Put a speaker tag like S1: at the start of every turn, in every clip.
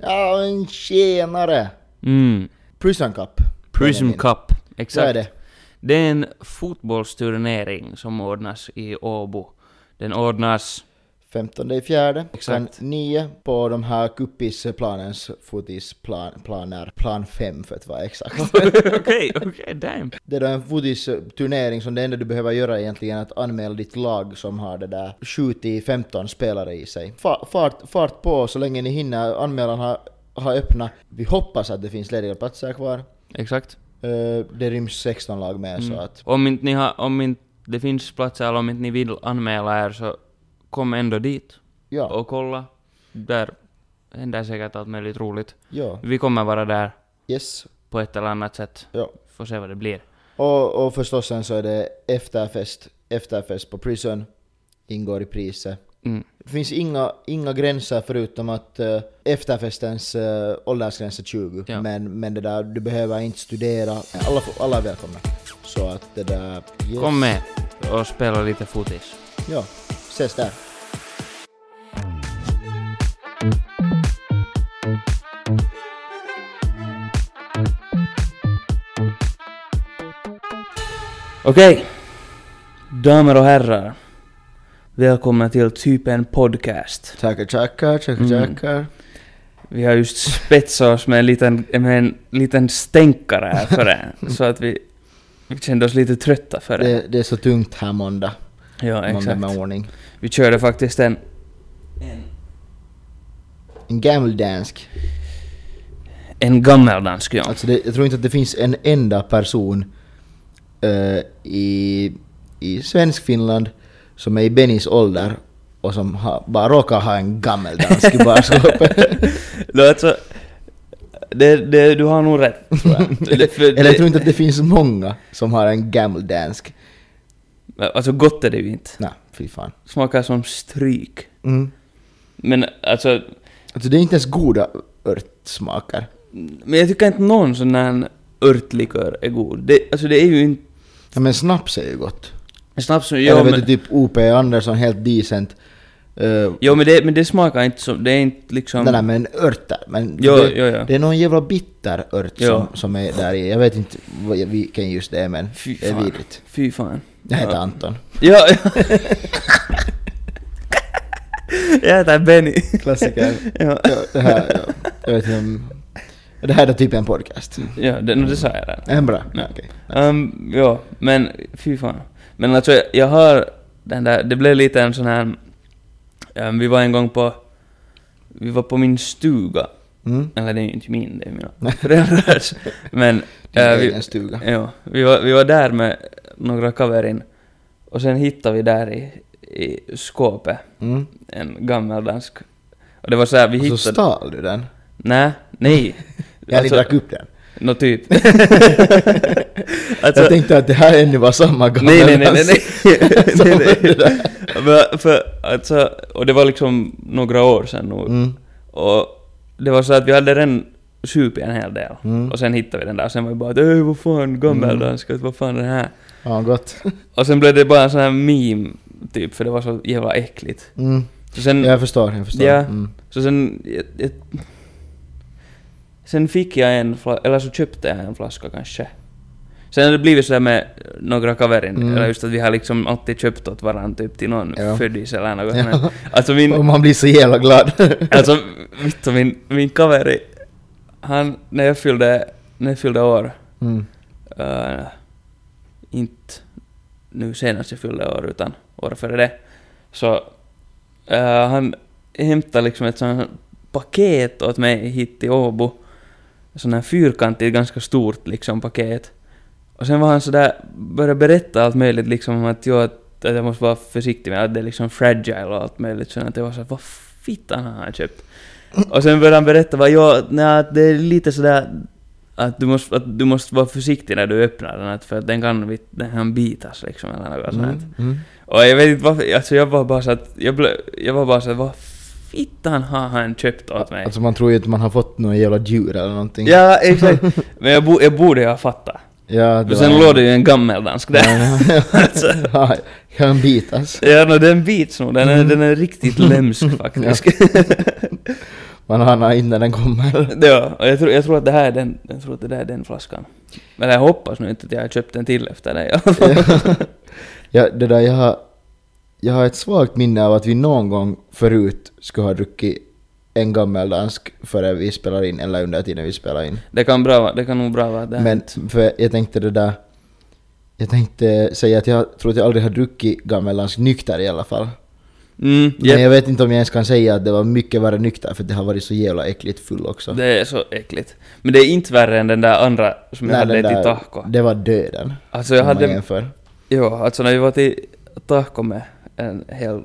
S1: Ja, en tjenare.
S2: Mm.
S1: Prison Cup.
S2: Prism Cup. Exakt.
S1: Så är det.
S2: Det är en fotbollsturnering som ordnas i Åbo. Den ordnas...
S1: 15 i fjärde. Klockan
S2: Exakt.
S1: 9 på de här kuppisplanens fotisplan, planer, plan 5 för att vara exakt.
S2: Okej, okej, damn.
S1: Det är då en fotisturnering som det enda du behöver göra egentligen är att anmäla ditt lag som har det där 7-15 spelare i sig. Fa- Fart, fart på så länge ni hinner. Anmälan har, har öppnat. Vi hoppas att det finns lediga platser kvar.
S2: Exakt.
S1: Eh, Det ryms 16 lag med så att...
S2: Om inte ni har... Om inte det finns platser eller om inte ni vill anmäla er så kom ändå dit
S1: Ja,
S2: och kolla. Där händer säkert allt möjligt roligt.
S1: ja,
S2: Vi kommer vara där
S1: yes.
S2: på ett eller annat sätt.
S1: Ja.
S2: Får se vad det blir.
S1: Och, och förstås sen så är det efterfest. Efterfest på Prison. Ingår i priset.
S2: Mm.
S1: Det finns inga, inga gränser förutom att eh, efterfestens eh, åldersgräns är 20.
S2: Ja.
S1: Men, men det där, du behöver inte studera. Alla, får- alla är välkomna. Så att det där... yes.
S2: Kom med och spela lite fotis.
S1: Ja, ses där.
S2: Okej. Damer och herrar. Välkomna till typ en podcast.
S1: Tackar, tackar, tackar,
S2: Mm.
S1: tackar.
S2: Vi har just spetsat oss med en liten, med en liten stänkare här före. så att vi, vi kände oss lite trötta före.
S1: Det, det är så tungt här måndag.
S2: ja,
S1: Måndag
S2: exakt.
S1: med ordning.
S2: Vi körde faktiskt en...
S1: En gammeldansk.
S2: En gammeldansk, ja.
S1: Alltså det, jag tror inte att det finns en enda person eh, i, i svensk Finland som är i Bennys ålder och som ha, bara råkar ha en gammeldansk i barskåpet.
S2: Nå, alltså, det, det, du har nog rätt, tror jag. Det- för
S1: Eller jag
S2: det-
S1: tror inte att det finns många som har en gammeldansk.
S2: Alltså, gott är det ju inte.
S1: Nej, fy fan.
S2: Smakar som stryk.
S1: Mm.
S2: Men alltså,
S1: Alltså det är inte ens goda örtsmaker.
S2: men jag tycker inte någon sån här örtlikör är god. Det, alltså det är ju inte...
S1: Ja, men snaps är ju gott.
S2: Snaps som...
S1: Eller
S2: Jo,
S1: vet
S2: men,
S1: du, typ O.P. Andersson, helt decent. Eh,
S2: jo men, det, men det smakar inte som... Det är inte liksom...
S1: Nej, nej, men örter. Men
S2: Jo,
S1: det,
S2: jo, jo.
S1: det är någon jävla bitter ört
S2: Ja.
S1: som, som är där i. Jag vet inte vad, jag- vilken just det är, men
S2: Fy
S1: det är
S2: fan.
S1: vidrigt.
S2: Fy fan.
S1: Jag heter
S2: Ja.
S1: Anton.
S2: Ja, ja. Jag heter Benny.
S1: Klassiker.
S2: Ja,
S1: ja, det här, ja. Jag vet inte om... Det här är typ en podcast.
S2: ja det, no, det sa jag redan.
S1: Är den bra?
S2: Ja.
S1: Okej.
S2: Ehm, ja, men fy fan. Men alltså jag, jag har den där, det blev lite en sån här... ehm, vi var en gång på... Vi var på min stuga.
S1: Mm.
S2: Eller det är ju inte min, det är mina föräldrars. Men...
S1: Det är
S2: eh, vi-
S1: egen stuga.
S2: Ja, vi var, vi var där med några kaverin och sen hittade vi där i, i skåpet
S1: Mm.
S2: en gammeldansk. Och det var så här, vi
S1: Och så
S2: hittade...
S1: stal du den.
S2: Nej, nej.
S1: Jag alltså, drack upp den.
S2: nå typ.
S1: jag tänkte att det här ännu var samma gamla
S2: alltså- nej, nej, nej, nej,
S1: dans.
S2: nej. nej, nej, Men, för, alltså, och det var liksom några år sedan nog.
S1: Mm.
S2: Och det var så att vi hade redan supit en hel del.
S1: Mm.
S2: Och sen hittade vi den där och sen var vi bara att "Öj, vad fan, gammeldansk, att vad fan är det här?
S1: Ja, gott.
S2: Och sen blev det bara en sån här meme, typ, för det var så jävla äckligt.
S1: Mm.
S2: Så sen...
S1: Jag förstår, jag förstår.
S2: Ja.
S1: Mm.
S2: Så sen jag, jag, sen fick jag en flaska, eller så köpte jag en flaska kanske. Sen har det blivit sådär med några kaverin,
S1: Mm.
S2: eller just att vi har liksom alltid köpt åt varandra typ till någon
S1: Ja.
S2: föddis eller något.
S1: Ja.
S2: Men, alltså
S1: Och
S2: min,
S1: man blir så jävla glad.
S2: alltså vittu min, min kaveri, han, när jag fyllde, när jag fyllde år,
S1: Mm.
S2: eh, inte nu senast jag fyllde år utan år före det, så eh, han hämtade liksom ett sånt här paket åt mig hit till Åbo. Sån här fyrkantigt, ganska stort liksom paket. Och sen var han sådär, började berätta allt möjligt liksom om att jag, att att jag måste vara försiktig med att det är liksom fragile och allt möjligt sånt. Att jag var såhär, vad fittan har han köpt? Och sen började han berätta vad jag, nej, att det är lite sådär att du, måste, att du måste vara försiktig när du öppnar den, att för att den kan, vit- den kan bitas liksom eller något sånt. här.
S1: Mm.
S2: Och jag vet inte varför, alltså jag var bara så att, jag, blev, jag var bara så att, vad fittan har han köpt åt mig?
S1: Alltså man tror ju att man har fått några jävla djur eller någonting.
S2: Ja, exakt. Men jag, bo, jag borde ju ha fattat.
S1: ja
S2: För sen låg det ju en gammeldansk där.
S1: alltså. ja, kan bitas. Mm.
S2: Ja, no, den bits nog. Den är, den är riktigt lömsk faktiskt.
S1: Man anar inte när den kommer.
S2: Ja, och jag tror, jag tror att det här är den, jag tror att det där är den flaskan. Men jag hoppas nu inte att jag har köpt en till efter det i alla fall.
S1: ja, det där, jag, har, jag har ett svagt minne av att vi någon gång förut skulle ha druckit en gammeldansk före vi spelar in, eller under tiden vi spelar in.
S2: Det kan, bra, vara- det kan nog bra vara det.
S1: Men för jag tänkte det där... Jag tänkte säga att jag tror att jag aldrig har druckit gammeldansk nykter i alla fall.
S2: mm,
S1: Men
S2: jep,
S1: jag vet inte om jag ens kan säga att det var mycket värre nykter för det har varit så jävla äckligt full också.
S2: det är så äckligt. Men det är inte värre än den där andra som jag
S1: Nej,
S2: hade
S1: den
S2: till
S1: där-
S2: Tahko.
S1: Det var döden.
S2: Alltså jag
S1: om man
S2: hade,
S1: jämför.
S2: jo, alltså när vi var till Tahko med en hel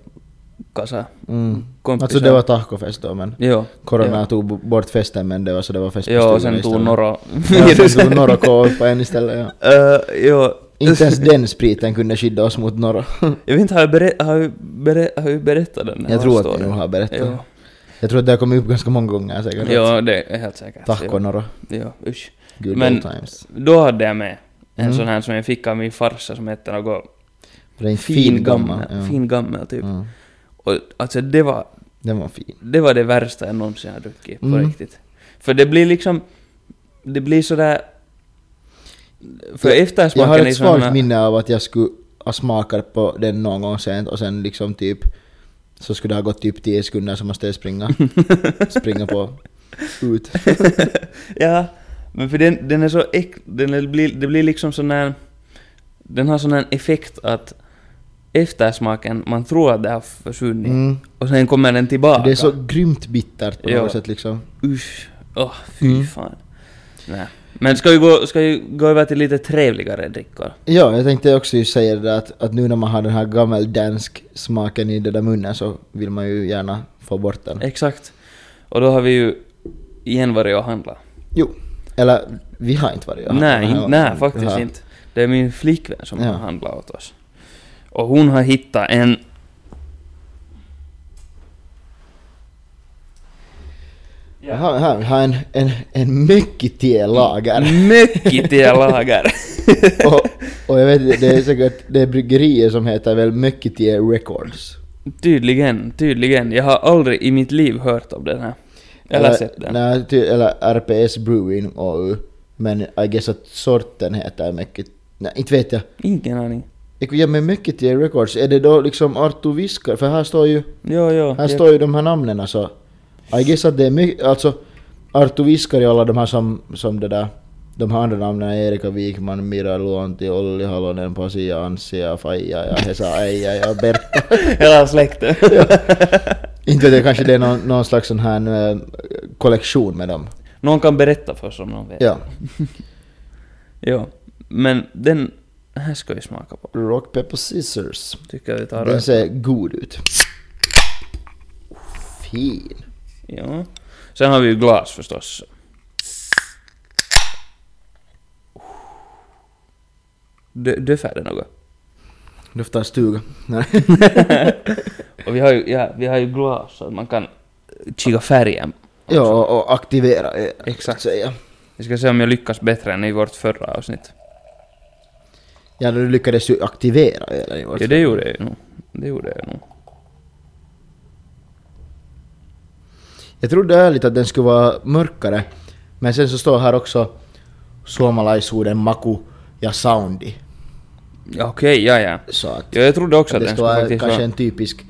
S2: kassa
S1: Mm.
S2: kompisar.
S1: Alltså det var tahkofest då men
S2: Jo.
S1: Corona
S2: jo.
S1: tog b- bort festen men det var så det var fest på
S2: Jo, och
S1: stugan
S2: sen tog
S1: istället.
S2: Noro
S1: Ja, sen tog Norra kål på en istället ja.
S2: Eh, jo.
S1: Inte ens den spriten kunde skydda oss mot Norra.
S2: Jag vet inte, har jag, berä- har jag, berä- har jag berättat den? här
S1: Jag tror att
S2: storyn?
S1: vi nog har
S2: Jo,
S1: berättat. Jag tror att det har kommit upp ganska många gånger säkert.
S2: jo, det är helt säkert.
S1: Tahko Norra.
S2: Jo, jo, usch.
S1: Good
S2: Men-
S1: old times.
S2: Då hade jag med en
S1: Mm.
S2: sån här som jag fick av min farsa som hette något
S1: För det är en fin gammal. Ja.
S2: fin gammel typ.
S1: Mm.
S2: Och alltså det var,
S1: Den var fin.
S2: det var det värsta jag någonsin har druckit på
S1: Mm.
S2: riktigt. För det blir liksom, det blir sådär... För
S1: Jag- Jag
S2: eftersmaken
S1: har
S2: är
S1: ett
S2: såna-
S1: svagt minne av att jag skulle ha smakat på den någon gång sent och sen liksom typ så skulle det ha gått typ 10 sekunder så måste jag springa, springa på ut.
S2: ja, men för den, den är så äck, den är, blir, det blir liksom sån här, den har sån här effekt att eftersmaken, man tror att det har försvunnit
S1: Mm.
S2: och sen kommer den tillbaka.
S1: Det är så grymt bittert på
S2: Ja.
S1: något sätt liksom.
S2: Usch, åh fy
S1: Mm.
S2: fan. Nej. Men ska vi, gå, ska vi gå över till lite trevligare drickor?
S1: Ja, jag tänkte också ju säga det där att, att nu när man har den här gammeldansk smaken i den där munnen så vill man ju gärna få bort den.
S2: Exakt. Och då har vi ju igen varit och handlat.
S1: Jo, eller vi har inte varit och handlat
S2: nej,
S1: den här
S2: in,
S1: gången.
S2: nej, faktiskt
S1: Vi har-
S2: inte. Det är min flickvän som
S1: Ja.
S2: har handlat åt oss. Och hon har hittat en...
S1: Vi har, här, vi har en, en, en mycket lager.
S2: Mycket till lager.
S1: och, och jag vet inte, det är säkert det är bryggerier som heter väl Mökkitie Records.
S2: tydligen, tydligen. Jag har aldrig i mitt liv hört om den här. Eller, sett den.
S1: Nej, ty, eller RPS Brewing Oy. Men I guess att sorten heter Mökkitie... Nej, inte vet jag.
S2: Ingen aning.
S1: Eko, Ja men Mökkitie Records, är det då liksom Arttu Viskar? För här står ju,
S2: Jo, jo.
S1: här
S2: jep.
S1: står ju de här namnen alltså. I guess att det är mycket, alltså Arttu Viskar och alla de här som, som det där de här andra namnen är Erika Wikman, Mira Luonti, Olli Halonen, Pasi ja Anssi ja Faija ja Hesa Eija ja Bertta.
S2: Hela släkten.
S1: Inte vet jag, kanske det är någon, någon slags sån här eh, kollektion med dem.
S2: Någon kan berätta för oss om någon vet.
S1: Ja.
S2: Jo. Men den här ska vi smaka på.
S1: Rock, paper, scissors.
S2: Tycker jag vi tar
S1: Den
S2: och-
S1: ser god ut. Fin.
S2: Ja. Sen har vi ju glas förstås. Dö- Döfar det något?
S1: Doftar stuga. Nej.
S2: Och vi har ju, ja, vi har ju glas så att man kan kika färgen.
S1: Ja, och- och aktivera eh, så att
S2: Exakt.
S1: säga.
S2: Vi ska se om jag lyckas bättre än i vårt förra avsnitt.
S1: Ja, du lyckades ju aktivera eller i vart
S2: Ja,
S1: fall.
S2: det gjorde jag ju nog. Det gjorde jag nog.
S1: Jag trodde ärligt att den skulle vara mörkare. Men sen så står här också suomalaisuuden maku ja soundi.
S2: Ja, Okej, ja, ja.
S1: Så att,
S2: ja. Jag trodde också
S1: att det
S2: att
S1: ska
S2: den skulle
S1: vara
S2: faktiskt
S1: kanske
S2: vara...
S1: en typisk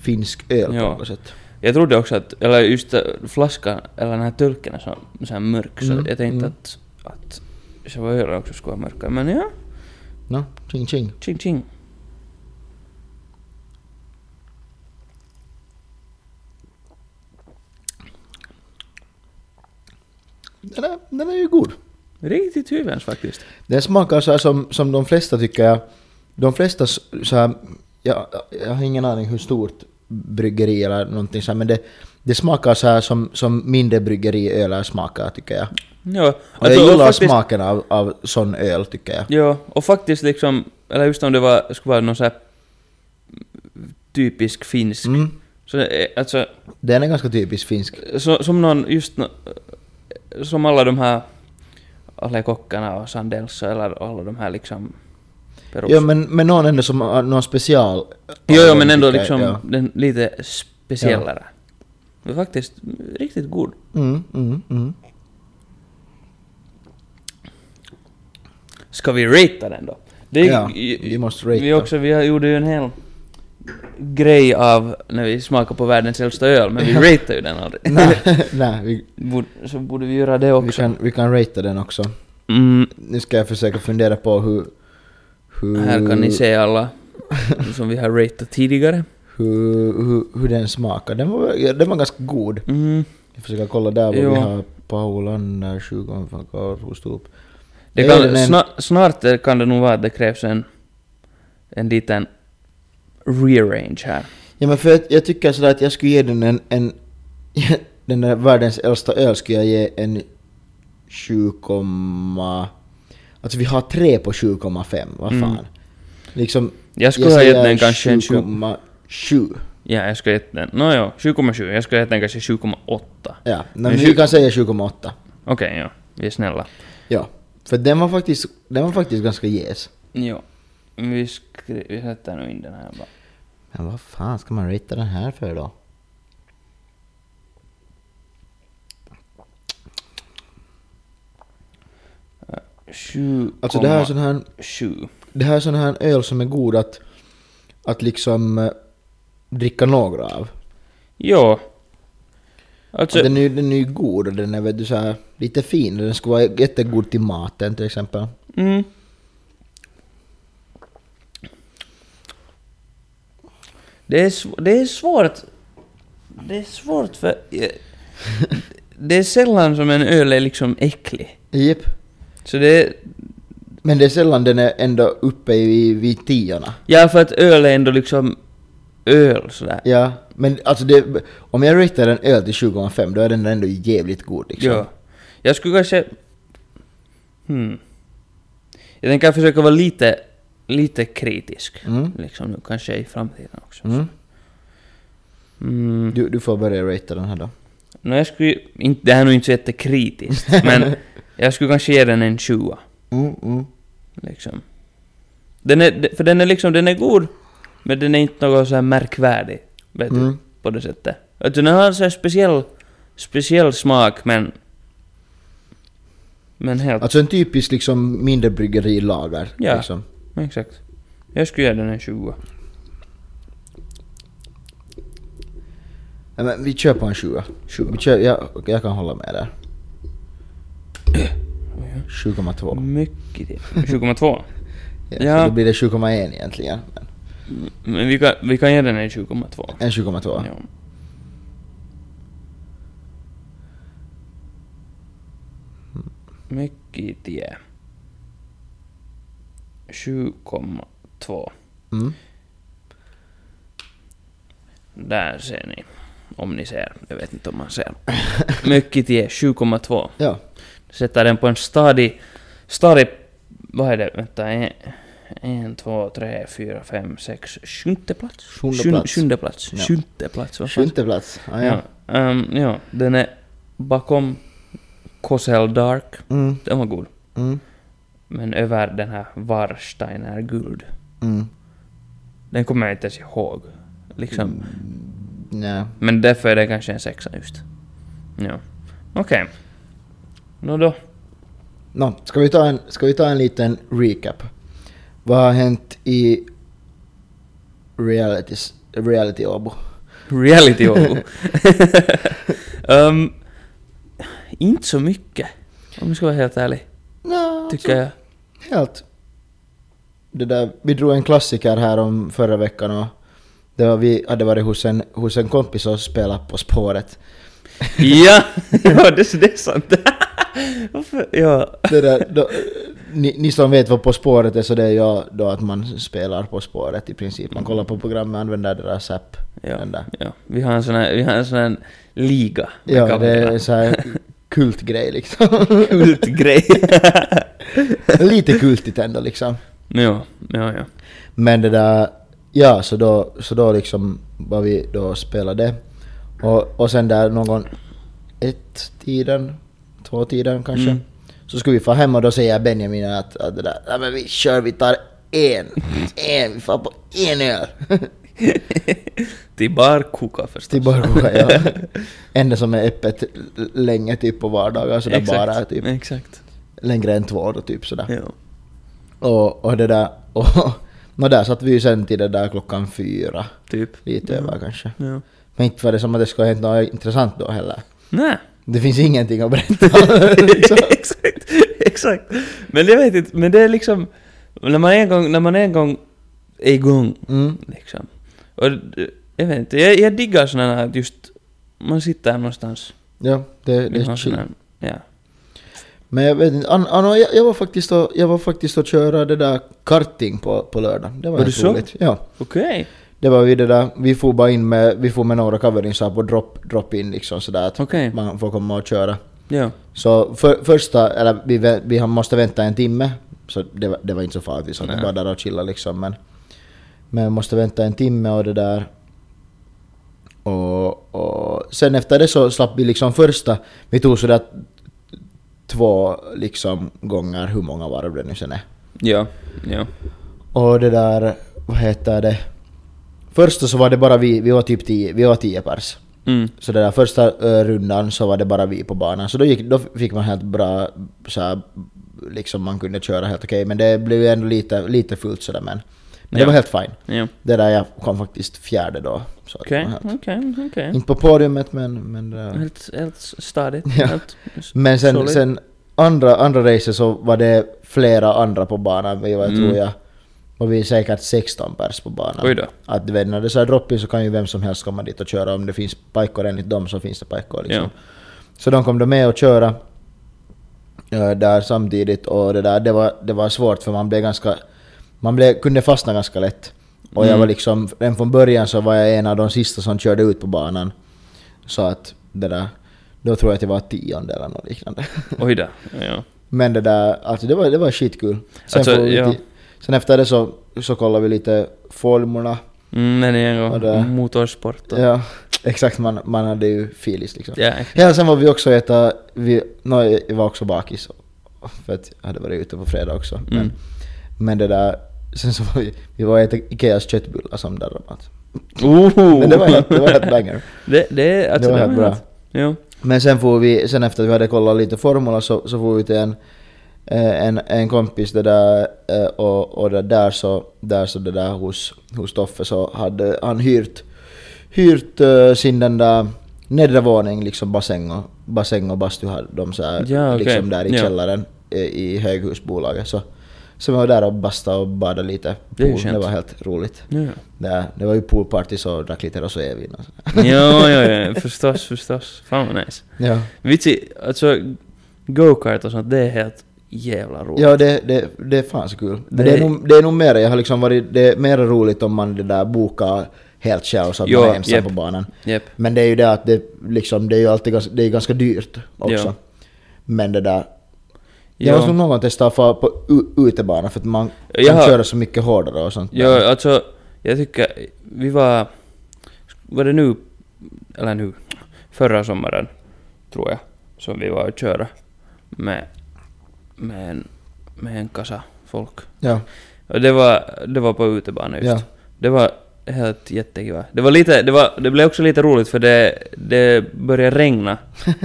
S1: finsk öl
S2: Ja.
S1: på något sätt.
S2: Jag trodde också att, eller just äh, flaskan, eller den här tulken är så, så här mörk, så
S1: Mm,
S2: jag tänkte
S1: mm.
S2: att, att själva ölen också skulle vara mörkare. Men ja,
S1: No, ching ching.
S2: Ching ching.
S1: Den är, den är ju god.
S2: Riktigt hyvens faktiskt.
S1: Den smakar så här som, som de flesta tycker jag. De flesta s- så här, jag, jag har ingen aning hur stort bryggeri eller någonting så här, men det, det smakar så här som, som mindre bryggeriöl smakar tycker jag.
S2: Ja,
S1: Och jag gillar
S2: faktiskt,
S1: smaken av, av sån öl tycker jag.
S2: Ja, och faktiskt liksom, eller just om det var, skulle vara någon så här typisk finsk.
S1: Mm.
S2: Så, eh, alltså,
S1: Den är ganska typisk finsk.
S2: så, som någon, just nå- som alla de här Alle Kockarna och Sandelsa eller alla de här liksom perus-
S1: Ja men, men någon ändå som har någon special.
S2: Jo, jo, men ändå
S1: tycker jag,
S2: liksom
S1: ja.
S2: den lite speciellare. Men faktiskt riktigt god.
S1: Mm, mm, mm.
S2: Ska vi ratea den då? Det är-
S1: ja,
S2: i-
S1: vi måste rate
S2: vi
S1: dem.
S2: också, vi har- gjorde ju en hel grej av när vi smakade på världens äldsta öl, men vi rateade ju den aldrig.
S1: Nej, nej vi,
S2: Borde, så borde vi göra det
S1: vi,
S2: också.
S1: kan, vi kan ratea den också.
S2: Mm,
S1: Nu ska jag försöka fundera på hur... hur
S2: här kan ni se alla som vi har ratat tidigare.
S1: Hur, hur, hur den smakar. Den var, ja, den var ganska god.
S2: Mm.
S1: Jag försöker kolla där vad
S2: Jo.
S1: vi har. Paul Anner, 20 från Karlsruhestop.
S2: Det
S1: Är
S2: kan,
S1: den en-
S2: sna, snart kan det nog vara att det krävs en, en liten rearrange här.
S1: Ja men för jag, jag tycker sådär att jag skulle ge den en... en den där världens äldsta öl skulle jag ge en 7, alltså vi har tre på 7,5, vad fan.
S2: Mm.
S1: Liksom,
S2: Jag skulle ha gett
S1: säger
S2: den kanske en 20,
S1: 7,7.
S2: Ja, jag skulle ha gett den... Nåja, 7,7. Jag skulle ha gett den kanske 7,8. Okej,
S1: Ja,
S2: Men
S1: men vi
S2: tjugo-
S1: kan säga 7,8.
S2: ja. Vi är snälla.
S1: Ja. För den var faktiskt, den var faktiskt ganska jäs.
S2: Jo. Vi, skri- vi sätter nog in den här bara.
S1: Men vad fan ska man ratea den här för då? Alltså det här är sån här,
S2: 7,7.
S1: det här är sån här öl som är god att, att liksom eh, dricka några av.
S2: Jo.
S1: Och
S2: Alltså,
S1: den, är, ju- den är ju god och den är vet du, så här, lite fin. Den skulle vara jättegod till maten till exempel.
S2: Mm. Det är, sv- det är svårt. Det är svårt för... eh, Det är sällan som en öl är liksom äcklig.
S1: Jep.
S2: Så det är...
S1: Men det är sällan den är ändå uppe i, vid tiorna.
S2: Ja, för att öl är ändå liksom öl sådär.
S1: Ja, men alltså det, om jag ratear en öl till 20,5 då är den ändå jävligt god liksom.
S2: Ja. Jag skulle kanske... Hmm. Jag tänker försöka vara lite, lite kritisk.
S1: Mm.
S2: Liksom nu, kanske i framtiden också.
S1: Mm.
S2: Mm.
S1: Du, du får börja ratea den här då.
S2: Nå jag skulle ju inte, det här är nog inte så jättekritiskt, men jag skulle kanske ge den en 20.
S1: Mm, mm.
S2: Liksom. Den är, för den är liksom, den är god, men den är inte något så här märkvärdig, vet du,
S1: Mm.
S2: på det typ- sättet. Att den har en så här speciell, speciell smak, men... Men helt...
S1: Alltså en typisk liksom mindre bryggerilager.
S2: Ja.
S1: Liksom.
S2: Exakt. Jag skulle ge den en 20.
S1: Ja, men vi kör på en 20. Vi kör, jag, jag kan hålla med där. 7,2.
S2: Mycket till. 7,2.
S1: Ja,
S2: Ja.
S1: Så då blir det 7,1 egentligen. Men
S2: Men vi kan, vi kan ge den en 20,2.
S1: En 7,2.
S2: Ja. Mycket tie. 7,2.
S1: Mm.
S2: Där ser ni. Om ni ser. Jag vet inte om man ser. Mycket tie. 7,2.
S1: Ja.
S2: Sätter den på en stadig... Stadig... Vad är det? Vänta. En, en två, tre, fyra, fem, sex... Sjunde plats?
S1: Sjunde
S2: Sjun-
S1: plats.
S2: Sjunde plats.
S1: Ja.
S2: Sjunde plats. Vad fan
S1: Sjunde plats. Ah,
S2: Ja.
S1: ja.
S2: ehm, ja, den är bakom Kossel Dark.
S1: Mm.
S2: Den var god.
S1: Mm.
S2: Men över den här Warsteiner Guld.
S1: Mm.
S2: Den kommer jag inte ens ihåg. Liksom.
S1: Mm. Nej.
S2: Men därför är det kanske en sexa just. Ja. Okej. Nå då.
S1: Nå, ska vi, ta en, ska vi ta en liten recap? Vad har hänt i realities, reality Åbo?
S2: Reality Åbo. Ehm, inte så mycket. Om jag ska vara helt ärlig.
S1: Nå,
S2: Tycker jag.
S1: Helt. Det där, vi drog en klassiker här om förra veckan och det var vi hade varit hos en, hos en kompis och spelat På spåret.
S2: ja! ja, det, det är sant. Varför? Ja.
S1: Det där, då, ni, ni som vet vad På spåret är så det är ju då att man spelar På spåret i princip. Man kollar på programmet och använder deras app.
S2: Ja,
S1: Den där.
S2: ja. Vi har en sån här, vi har en sån här liga med
S1: Ja, det
S2: kamera.
S1: är så här kultgrej liksom.
S2: Kult grej.
S1: Lite kultigt ändå liksom.
S2: ja, ja, ja.
S1: Men det där, ja så då, så då liksom var vi då spelade. Och, och sen där någon ett tiden, två tiden kanske.
S2: Mm.
S1: Så skulle vi få hem och då säger Benjamin att, att det där, nej men vi kör, vi tar en, en, vi får på en öl.
S2: Till barkoka förstås.
S1: Till barkoka, ja. Enda som är öppet länge typ på vardagar sådär
S2: Exakt,
S1: bara typ.
S2: Exakt.
S1: Längre än två då typ sådär.
S2: Ja.
S1: Och, och det där... Och, nå där satt vi ju sen till det där klockan fyra.
S2: Typ.
S1: Lite
S2: Ja.
S1: över kanske.
S2: Ja.
S1: Men inte var det som att det skulle ha hänt något intressant då heller.
S2: Nej.
S1: Det finns ingenting att berätta. liksom.
S2: exakt, exakt. Men jag vet inte, men det är liksom... När man en gång, när man en gång är igång,
S1: Mm.
S2: liksom. Och d- jag vet inte, jag, jag diggar sådana här att just... Man sitter här någonstans.
S1: Ja, det, det
S2: vill
S1: är
S2: ha sån
S1: chill.
S2: här- Ja.
S1: Men jag vet inte, an, an, jag, jag var faktiskt och, jag var faktiskt och köra det där karting på, på lördag. Det var,
S2: Var
S1: helt
S2: det så?
S1: roligt. Ja.
S2: Okej.
S1: Det var vi det där, vi får bara in med, vi får med några coveringsar på drop, drop in liksom sådär att
S2: Okej.
S1: man får komma och köra.
S2: Ja.
S1: Så för, första, eller vi, vä- vi har- måste vänta en timme. Så det, var- det var inte så farligt, vi satt
S2: Nej.
S1: bara där och chillade liksom men... Men måste vänta en timme och det där. Och, och sen efter det så slapp vi liksom första, vi tog sådär två liksom gånger, hur många varv det nu sen är.
S2: Ja. Ja.
S1: Och det där, vad heter det? Första så var det bara vi, vi var typ 10, vi var 10 pers.
S2: Mm.
S1: Så den där första eh, rundan så var det bara vi på banan. Så då, gick, då fick man helt bra, så här, liksom man kunde köra helt okej. Men det blev ju ändå lite, lite fullt sådär men. Men det
S2: Ja.
S1: var helt fine.
S2: Ja.
S1: Det där jag kom faktiskt fjärde då. Så att
S2: Okej,
S1: det var helt-
S2: okej, okej.
S1: Inte på podiumet men... men det där.
S2: Helt, helt stadigt.
S1: Ja.
S2: Helt,
S1: Men sen,
S2: Solid.
S1: sen andra, andra racet så var det flera andra på banan. Vi var,
S2: Mm.
S1: tror jag, var vi säkert 16 pers på banan.
S2: Oj då.
S1: Att du vet, när det är så här drop-in så kan ju vem som helst komma dit och köra. Om det finns pajkor enligt dem så finns det pajkor liksom.
S2: Ja.
S1: Så de kom då med och köra eh, där samtidigt och det där, det var, det var svårt för man blev ganska... Man blev, kunde fastna ganska lätt. Och jag
S2: Mm.
S1: var liksom, redan från början så var jag en av de sista som körde ut på banan. Så att det där, då tror jag att jag var tionde eller något liknande.
S2: Oj då. Ja.
S1: Men det där, alltså det var, det var skitkul. Sen,
S2: Alltså,
S1: får vi
S2: ja.
S1: lite- sen efter det så, så kollade vi lite formorna.
S2: Mm, men igen,
S1: Och det-
S2: och motorsport och... Ja.
S1: Ja, exakt, man, man hade ju filis liksom.
S2: exakt.
S1: Ja, sen var vi också äta, vi, no, jag var också bakis. För att jag hade varit ute på fredag också. Men,
S2: Mm.
S1: men det där, sen så var vi, vi var och äta Ikeas köttbullar som där rabatt.
S2: Ooh.
S1: Men det var helt, det var helt banger.
S2: Oh! det, det, alltså,
S1: det var helt bra.
S2: Ja.
S1: Men sen får vi, sen efter att vi hade kollat lite formula så, så får vi till en, eh, en, en kompis det där eh, och, och det där så, där så det där hos, hos Toffe så hade han hyrt, hyrt eh, sin den där nedre våning liksom bassäng och, bassäng och bastu hade de så här,
S2: Ja, okej.
S1: liksom där i
S2: Ja.
S1: källaren eh, i höghusbolaget så, så vi var där och bastade och badade lite.
S2: Det är ju
S1: Pool, det
S2: skönt.
S1: var helt roligt.
S2: Ja, ja.
S1: Det, det var ju poolparty så drack lite rosévin och så.
S2: ja, ja, ja, förstås, förstås. Fan vad nice.
S1: Ja.
S2: Vitsi, alltså go-kart och sånt, det är helt jävla roligt.
S1: Ja, det, det, det är fan så kul. Men
S2: Det-
S1: det, är nog, det är nog mer, jag har liksom varit, det är mer roligt om man det där bokar helt själv så att
S2: Ja,
S1: man är ensam
S2: japp.
S1: på banan.
S2: Japp.
S1: Men det är ju det att det, liksom, det är ju alltid ganska, det är ganska dyrt också.
S2: Ja.
S1: Men det där...
S2: Ja.
S1: Jag måste nog någon gång testa att fara på u- utebana för att man kan
S2: Jag har-
S1: köra så mycket hårdare och sånt. där.
S2: Ja, alltså, jag tycker, vi var, var det nu, eller nu, förra sommaren, tror jag, som vi var och köra med, med, en, med en kassa folk.
S1: Ja.
S2: Och det var, det var på utebana just.
S1: Ja.
S2: Det var helt jättekiva. Det var lite, det, var, det blev också lite roligt för det, det började regna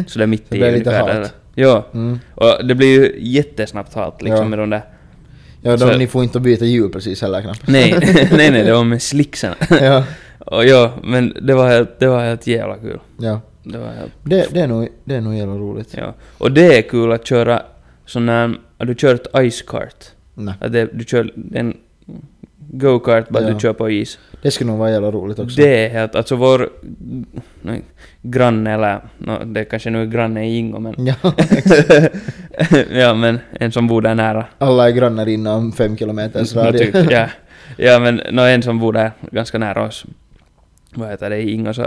S2: sådär mitt
S1: Det
S2: i
S1: blev lite
S2: ungefär
S1: halt.
S2: där. Ja.
S1: Mm.
S2: Och det blir ju jättesnabbt halt liksom
S1: Ja.
S2: med de där...
S1: Ja,
S2: Så-
S1: de, ni får inte byta hjul precis heller knappt.
S2: Nej, nej, nej, det var med slicksarna.
S1: ja.
S2: Och ja, men det var helt, det var helt jävla kul.
S1: ja.
S2: Det var helt,
S1: Det, det, är nog, det är nog jävla roligt.
S2: ja. Och det är kul att köra sån här, har du kört icecart?
S1: Nej.
S2: Att det, du kör en go-kart bara
S1: Ja.
S2: du kör på is.
S1: Det skulle nog vara jävla roligt också.
S2: Det är helt, alltså vår nej, granne eller, nå, det kanske nu är granne i Ingo men...
S1: Ja.
S2: ja men en som bor där nära.
S1: Alla är grannar inom fem kilometers
S2: Nå,
S1: radie.
S2: typ, ja. ja men nå, en som bor där ganska nära oss, vad heter det, i Ingo så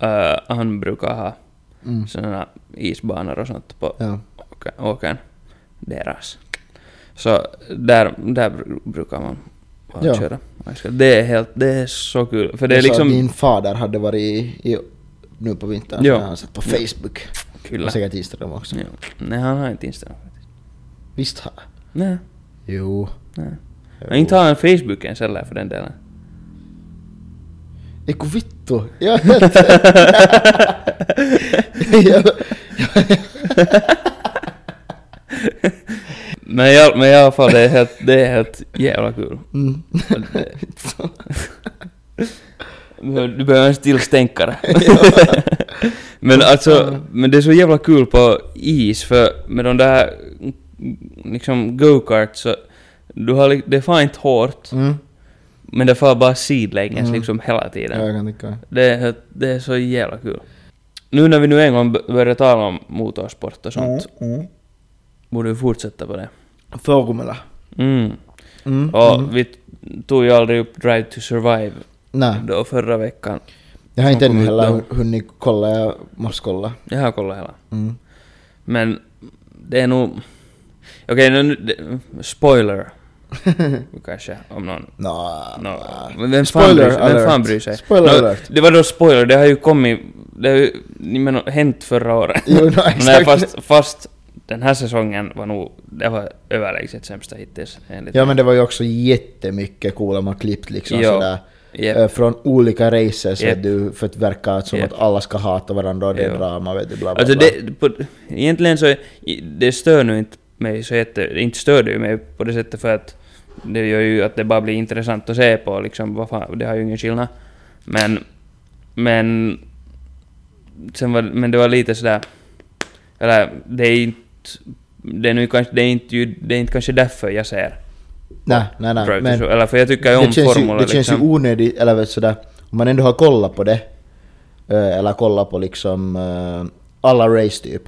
S2: eh, han brukar ha
S1: Mm.
S2: sådana isbanor och sånt på
S1: Ja.
S2: åka- åkern. Deras. Så där, där br- brukar man bara
S1: Ja.
S2: köra. Man ska- Det är helt, det är så kul. För det
S1: Jag sa
S2: är
S1: att
S2: liksom...
S1: Din fader hade varit i, i, nu på vintern,
S2: Ja.
S1: när han satt på Facebook.
S2: Kyllä.
S1: Och säkert Instagram också.
S2: Ja. Typ Nej, han har inte Instagram faktiskt.
S1: Visst har
S2: Nej,
S1: Jo.
S2: nej.
S1: Jo.
S2: Och inte har han Facebook ens heller för den delen.
S1: Eiku vittu, jag är helt... jag,
S2: Men, jag, men i alla fall, det är helt, det är helt jävla kul.
S1: mm.
S2: Det- Du behöver en stillstänkare. men alltså, men det är så jävla kul på is för med de där liksom go-karts så du har, li- det far inte hårt
S1: Mm.
S2: men det far bara sidlänges
S1: Mm.
S2: liksom hela
S1: Ja,
S2: tiden.
S1: jag kan tänka mig.
S2: Det, är, det är så jävla kul. Nu när vi nu en gång b- börjar tala om motorsport och sånt
S1: Mm.
S2: borde vi fortsätta på det.
S1: Formula.
S2: Mm.
S1: Mm.
S2: Och
S1: Mm.
S2: vi t- tog ju aldrig upp Drive to Survive
S1: Nej,
S2: då förra veckan.
S1: jag har inte
S2: Som kom
S1: ännu
S2: ut
S1: heller
S2: då.
S1: hunnit kolla, jag måste kolla.
S2: Jag har kollat hela.
S1: Mm.
S2: Men det är nog... Okej, nu... det- Spoiler. Kanske, om någon...
S1: Nå,
S2: No.
S1: nå.
S2: Men vem fan,
S1: Ah, Spoiler
S2: bryr, sig- vem
S1: alert.
S2: fan bryr sig?
S1: Spoiler
S2: Nå,
S1: alert.
S2: det var då spoiler, det har ju kommit... Det har ju ni menar, hänt förra året.
S1: Jo, no,
S2: Nej,
S1: exakt.
S2: fast, fast den här säsongen var nog... Det var överlägset sämsta hittills, enligt
S1: Ja men det var ju också jättemycket coola man klippt liksom
S2: Ja.
S1: sådär.
S2: Jep.
S1: eh, Från olika races
S2: Japp.
S1: vet du, för att verka som
S2: Japp.
S1: att alla ska hata varandra och det är
S2: Jo.
S1: drama vet du, bla bla
S2: Alltså
S1: bla.
S2: det, på, egentligen så, i- det stör nu inte mig så jätte, det inte stör det ju mig på det sättet för att det gör ju att det bara blir intressant att se på liksom, vad fan, det har ju ingen skillnad. Men, men, sen var, men det var lite sådär, eller det är inte, det är nu kanske, det är inte, ju- det är inte kanske därför jag ser
S1: Nej, nej, nej.
S2: Drive to
S1: Men
S2: Sur- eller för jag tycker ju om
S1: det känns ju,
S2: Formula
S1: det känns ju
S2: liksom.
S1: onödigt, eller vet du, sådär, om man ändå har kollat på det. eh, Eller kollat på liksom eh, alla race typ.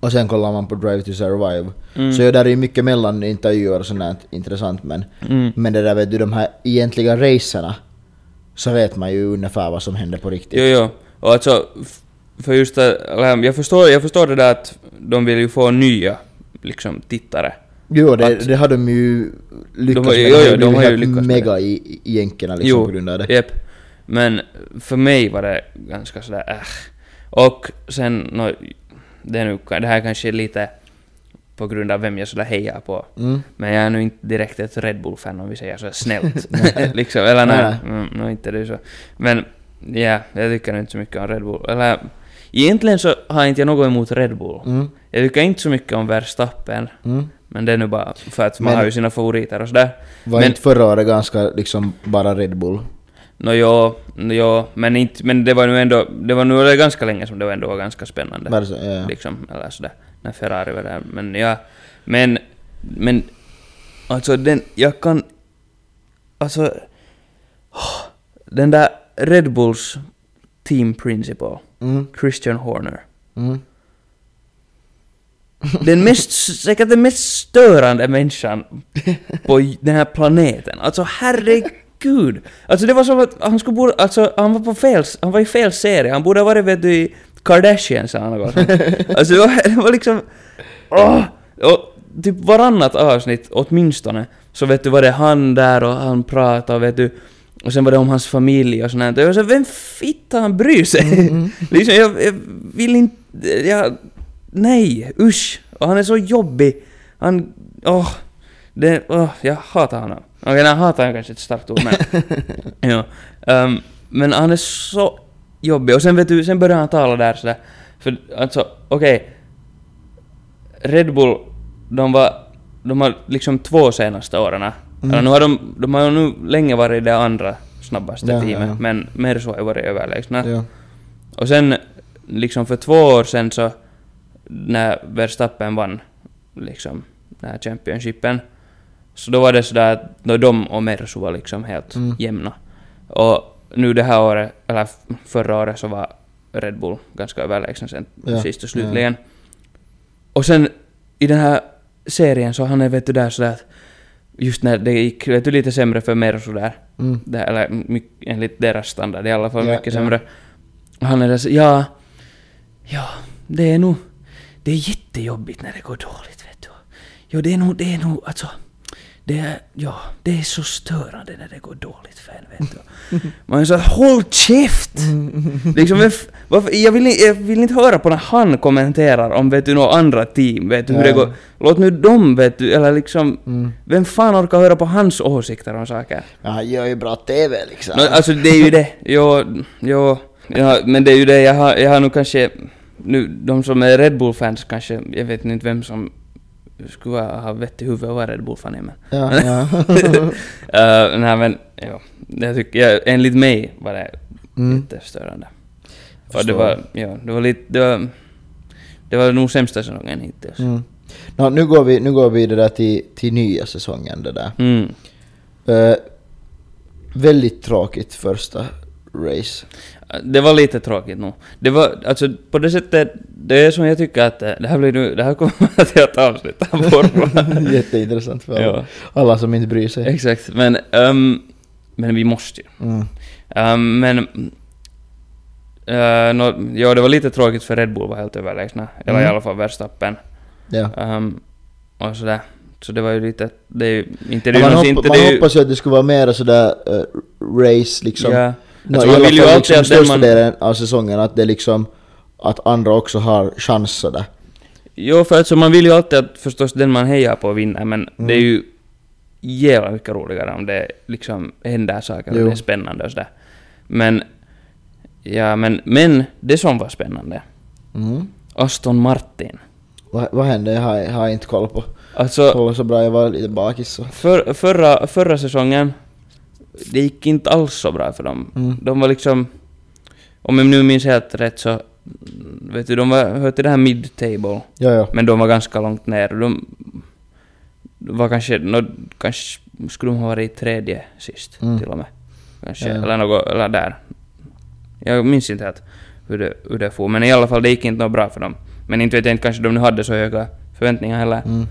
S1: Och sen kollar man på Drive to Survive.
S2: Mm.
S1: Så ja, där är ju mycket mellan intervjuer och sånt där intressant men.
S2: Mm.
S1: Men det där vet du, de här egentliga racerna. Så vet man ju ungefär vad som händer på riktigt.
S2: Jo, jo. Och alltså, f- för just det, eller, jag förstår, jag förstår det där att de vill ju få nya, liksom, tittare.
S1: Jo, det,
S2: Att-
S1: det har de ju lyckats
S2: De
S1: med.
S2: har- jo,
S1: Det
S2: jo, de
S1: blivit
S2: har ju
S1: helt
S2: lyckats med
S1: mega i, i- i jänkerna liksom på grund av det.
S2: Jep. Men för mig var det ganska sådär, äh. Och sen, nå, det, är nu, det här kanske är lite på grund av vem jag sådär hejar på.
S1: Mm.
S2: Men jag är nu inte direkt ett Red Bull-fan om vi säger så snällt. liksom, eller nej,
S1: Nej,
S2: mm, nå, inte det så. Men ja, jag tycker inte så mycket om Red Bull. Eller, egentligen så har inte jag något emot Red Bull.
S1: Mm.
S2: Jag tycker inte så mycket om Verstappen,
S1: Mm.
S2: men det är nu bara för att man
S1: Men-
S2: har ju sina favoriter och sådär.
S1: Var
S2: Men-
S1: inte förra året ganska liksom bara Red Bull?
S2: Nå jo, nå jo, men, inte, men det var nu ändå, det var nu ganska länge som det var ändå var ganska spännande.
S1: Var så, ja.
S2: Liksom, eller sådär, när Ferrari var där. Men ja, men, men, alltså den, jag kan, alltså, den där Red Bulls team principal,
S1: Mm.
S2: Christian Horner.
S1: Mm.
S2: Den mest, säkert den mest störande människan på j- den här planeten. Alltså herregud. Alltså det var som att han skulle borde, alltså han var på fel, s- han var i fel serie. Han borde ha varit vet du i Kardashians eller något sånt. Alltså det var, det var liksom... Åh! Och typ varannat avsnitt åtminstone så vet du var det han där och han pratade och vet du och sen var det om hans familj och sånt där. Och jag var så här, vem fitta han bryr sig? liksom jag, jag vill inte... Jag, nej, usch! Och han är så jobbig. Han... Åh! det, åh jag hatar honom. Okej, okay, hatar jag kanske ett starkt ord men... ja. Ehm, men han är så jobbig. Och sen vet du, sen börjar han tala där sådär. För alltså, okej. Red Bull, de var... De har liksom två senaste åren.
S1: Mm.
S2: Eller nu har de... De har ju nu länge varit det andra snabbaste
S1: Ja, ja,
S2: teamet.
S1: ja.
S2: Men Mersu har ju varit överlägsna.
S1: Ja.
S2: Och sen, liksom för två år sen så, när Verstappen vann, liksom, den här Championshipen, så då var det sådär att då de och Mersu var liksom helt
S1: Mm.
S2: jämna. Och nu det här året, eller f- förra året så var Red Bull ganska överlägsen sen
S1: Ja,
S2: sist och slutligen. Och sen i den här serien så han är vet du där sådär att just när det gick vet du, lite sämre för Mersu där,
S1: Mm.
S2: det, eller my, enligt deras standard i alla fall,
S1: Ja,
S2: mycket
S1: ja.
S2: sämre. Och han är där så, ja, ja, det är nog, det är jättejobbigt när det går dåligt vet du. Jo, det är nog, det är nog, alltså, det Det är, ja, det är så störande när det går dåligt för en, vet du. Man är så här, håll käft! Liksom, vem f- varför, jag, vill, i- jag vill inte höra på när han kommenterar om vet du, några andra team, vet du, hur
S1: Nej.
S2: det går. Låt nu dem, vet du, eller liksom...
S1: Mm.
S2: Vem fan orkar höra på hans åsikter om saker?
S1: Ja, han gör ju bra TV liksom.
S2: Nå, alltså det är ju det. Jo, jo. Ja, men det är ju det, jag har, jag har nog kanske... Nu, de som är Red Bull-fans kanske, jag vet inte vem som skulle ha ha vett i huvudet att vara Red Bull-fan i, men...
S1: Ja, ja.
S2: Eh, nej men, ja. Jag tycker, ja, enligt mig var det
S1: Mm.
S2: jättestörande. Och det
S1: Förstår.
S2: var, ja, det var lite, det var... Det var nog sämsta säsongen hittills. Mm.
S1: Mm. Nå, nu, går vi, nu går vi det där till, till nya säsongen det där.
S2: Mm.
S1: Eh, väldigt tråkigt första race.
S2: Det var lite tråkigt nog. Det var, alltså på det sättet, det är som jag tycker att eh, det här blir nu, det här kommer att göra ett avsnitt av Formula.
S1: Jätteintressant för alla,
S2: Ja.
S1: alla som inte bryr sig.
S2: Exakt, men, ehm, men vi måste ju.
S1: Mm.
S2: Ehm, men, eh, nå, ja det var lite tråkigt för Red Bull var helt överlägsna, eller i
S1: Mm.
S2: alla fall Verstappen.
S1: Ja.
S2: Ehm, och sådär. Så det var ju lite, det är ju inte det
S1: Men
S2: är
S1: man
S2: ju
S1: hoppa,
S2: någonsin- inte
S1: man
S2: det är ju-
S1: hoppas ju att det skulle vara mer sådär eh, race liksom.
S2: Ja.
S1: Nå,
S2: Alltså,
S1: i
S2: man
S1: alla
S2: vill ju
S1: fall
S2: alltid
S1: liksom
S2: att den
S1: största
S2: man...
S1: delen av säsongen att det liksom att andra också har chans sådär.
S2: Jo, för alltså man vill ju alltid att förstås den man hejar på vinner, men det
S1: Mm.
S2: är ju jävla mycket roligare om det liksom händer saker och
S1: Jo.
S2: det är spännande och sådär. Men, ja men, men det som var spännande,
S1: Mm.
S2: Aston Martin.
S1: Vad, vad hände? Jag har, jag har inte koll på.
S2: Alltså,
S1: Kolla så bra, jag var lite bakis så.
S2: för, förra, förra säsongen, det gick inte alls så bra för dem.
S1: Mm.
S2: De var liksom, om jag nu minns helt rätt så, mm, vet du, de var, hör till det här mid-table.
S1: Ja, ja.
S2: Men de var ganska långt ner. De var kanske, nå kanske skulle de ha varit i tredje sist
S1: Mm.
S2: till och med. Kanske,
S1: Ja, ja.
S2: eller något, eller där. Jag minns inte helt hur det, hur det for, men i alla fall det gick inte något bra för dem. Men inte vet jag inte kanske de nu hade så höga förväntningar heller.
S1: Mm.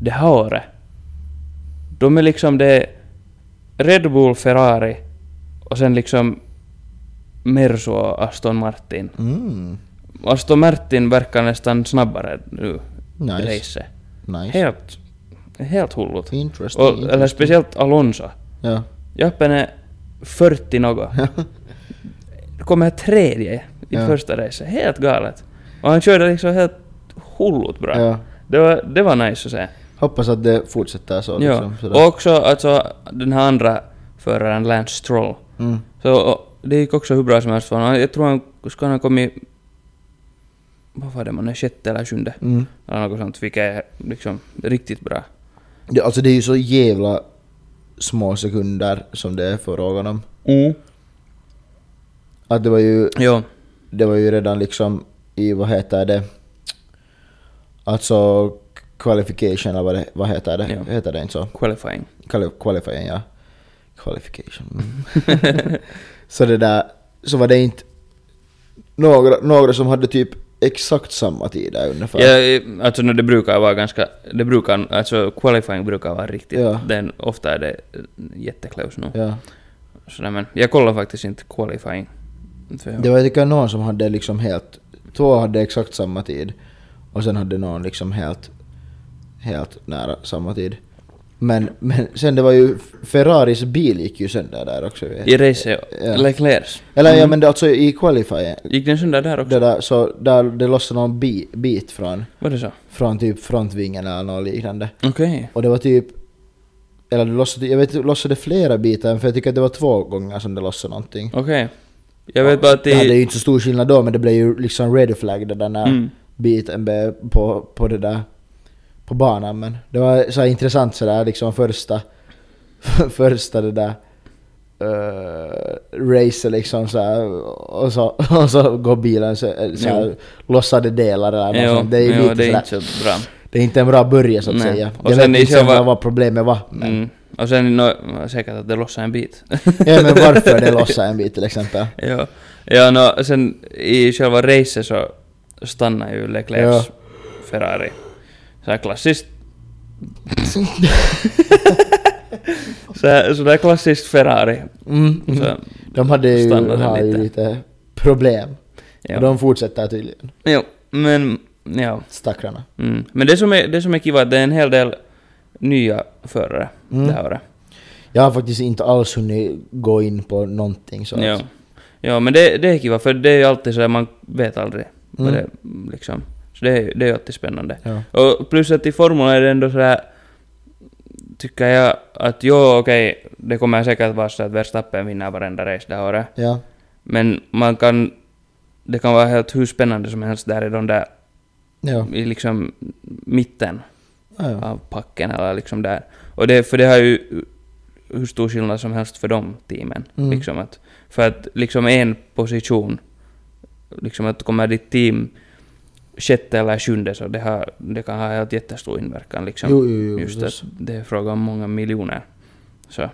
S2: Det här året, de är liksom det Red Bull, Ferrari och sen liksom Mersu och Aston Martin.
S1: Mm.
S2: Aston Martin verkar nästan snabbare nu i
S1: Nice.
S2: racet.
S1: Nice.
S2: Helt, helt hullut.
S1: Interesting.
S2: Och, eller
S1: interesting.
S2: speciellt Alonso.
S1: Ja.
S2: Jappen är 40 något. Kommer tredje i
S1: Ja.
S2: första racet. Helt galet. Och han körde liksom helt hullut bra.
S1: ja.
S2: Det, var, det var nice att se.
S1: Hoppas att det fortsätter så
S2: Ja.
S1: liksom. sådär.
S2: Och också alltså den här andra föraren, Lance Stroll.
S1: Mm.
S2: Så och, det gick också hur bra som helst för honom. Jag tror han skulle ha kommit... Vad var det man är? Sjätte eller sjunde?
S1: Mm.
S2: Eller något sånt. Vilket är liksom riktigt bra.
S1: Ja, alltså det är ju så jävla små sekunder som det är frågan om.
S2: Mm.
S1: Att det var ju,
S2: Jo.
S1: det var ju redan liksom i, vad heter det, alltså qualification eller vad, det, vad heter det?
S2: Ja.
S1: Heter det inte så?
S2: Qualifying.
S1: Quali- Qualifying, ja. Qualification. mm. så det där, så var det inte några, några som hade typ exakt samma tid där ungefär.
S2: Ja, eh, alltså no, det brukar vara ganska... Det brukar, alltså qualifying brukar vara riktigt...
S1: Ja.
S2: Den, ofta är det eh, jätteklaus nu.
S1: Ja.
S2: Sådär, men jag kollar faktiskt inte qualifying. För jag,
S1: Det var jag tycker någon som hade liksom helt... Två hade exakt samma tid. Och sen hade någon liksom helt... Helt nära samma tid. Men, men sen det var ju... Ferraris bil gick ju sönder där också.
S2: I race,
S1: Ja.
S2: Leclercs.
S1: Eller ja men det, alltså i qualifying.
S2: Gick den sönder där också?
S1: Det där, så där, det lossade någon bi, bit från,
S2: Var det så?
S1: från typ frontvingen eller något liknande.
S2: Okej.
S1: Och det var typ... Eller det lossade, jag vet inte, lossade flera bitar för jag tycker att det var två gånger som det lossade någonting.
S2: Okej. Jag vet bara att
S1: Det hade
S2: i...
S1: ju inte så stor skillnad då men det blev ju liksom red flag det där när
S2: Mm.
S1: biten be- på, på det där på banan men det var så här intressant sådär liksom första första det där uh, race liksom så här, och så och så går bilen så, eh, så här, lossade delar eller något
S2: Jo,
S1: sånt. Det är ju
S2: jo,
S1: lite
S2: det är
S1: sådär,
S2: inte så bra.
S1: det är inte en bra början så att
S2: Nej.
S1: säga.
S2: Och
S1: Jag
S2: sen
S1: vet
S2: i
S1: inte ens
S2: själva-
S1: vad problemet var men,
S2: Mm. Och sen no, säkert att det lossade en bit.
S1: ja, men varför det lossade en bit till exempel.
S2: Ja, ja no, sen i själva racet så stannar ju Leclercs
S1: Ja.
S2: Ferrari. Så här klassiskt. så, här, så där klassiskt Ferrari.
S1: Mm.
S2: Så,
S1: De hade ju,
S2: Stannade
S1: har ju
S2: lite.
S1: lite problem.
S2: ja.
S1: Och de fortsätter tydligen.
S2: Jo, men ja.
S1: Stackarna.
S2: Mm. Men det som, är, det som är kiva är att det är en hel del nya förare
S1: Mm.
S2: det här året.
S1: Jag har faktiskt inte alls hunnit gå in på någonting så att-
S2: Ja. ja, men det, det är kiva, för det är ju alltid sådär, man vet aldrig vad
S1: Mm.
S2: det liksom. Så det, är- det är ju alltid spännande.
S1: Ja.
S2: Och plus att i Formula är det ändå sådär, tycker jag att jo okej, det kommer säkert vara så att Verstappen vinner varenda race det här året.
S1: Ja.
S2: Men man kan, det kan vara helt hur spännande som helst där i de där,
S1: Ja.
S2: i liksom mitten
S1: Ja, ja.
S2: av packen eller liksom där. Och det, för det har ju hur stor skillnad som helst för de teamen.
S1: Mm.
S2: Liksom att, för att liksom en position, liksom att kommer ditt team sjätte eller sjunde så det, har, det kan ha helt jättestor inverkan. Liksom.
S1: Jo, jo, jo.
S2: Just
S1: förstås.
S2: att det är fråga om många miljoner. Så,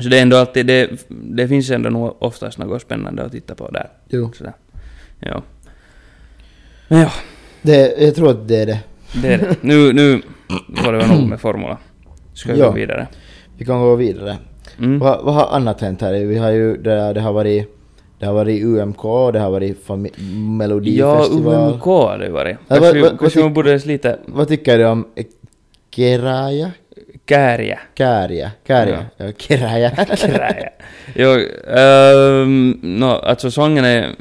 S2: så det är ändå alltid, det, det finns ändå nog oftast något spännande att titta på där.
S1: Jo.
S2: Sådär. Ja. Men ja,
S1: Det, jag tror att det är det.
S2: det är det. Nu, nu var det väl nog med Formula. Ska vi
S1: Ja.
S2: gå vidare?
S1: Vi kan gå vidare.
S2: Mm.
S1: Vad, vad har annat hänt här? Vi har ju det, där, det har varit... Det har varit UMK, det har varit fami-
S2: Ja,
S1: Melodifestival.
S2: UMK har det varit.
S1: vad-
S2: Kanske,
S1: vad-
S2: vi- kanske
S1: vad
S2: man borde ens lite
S1: Vad tycker du om eh, Keraja?
S2: kärja.
S1: Kärja? Kärja? Ja. Keraja.
S2: Kärja. Jag, ehm, no, alltså sången är...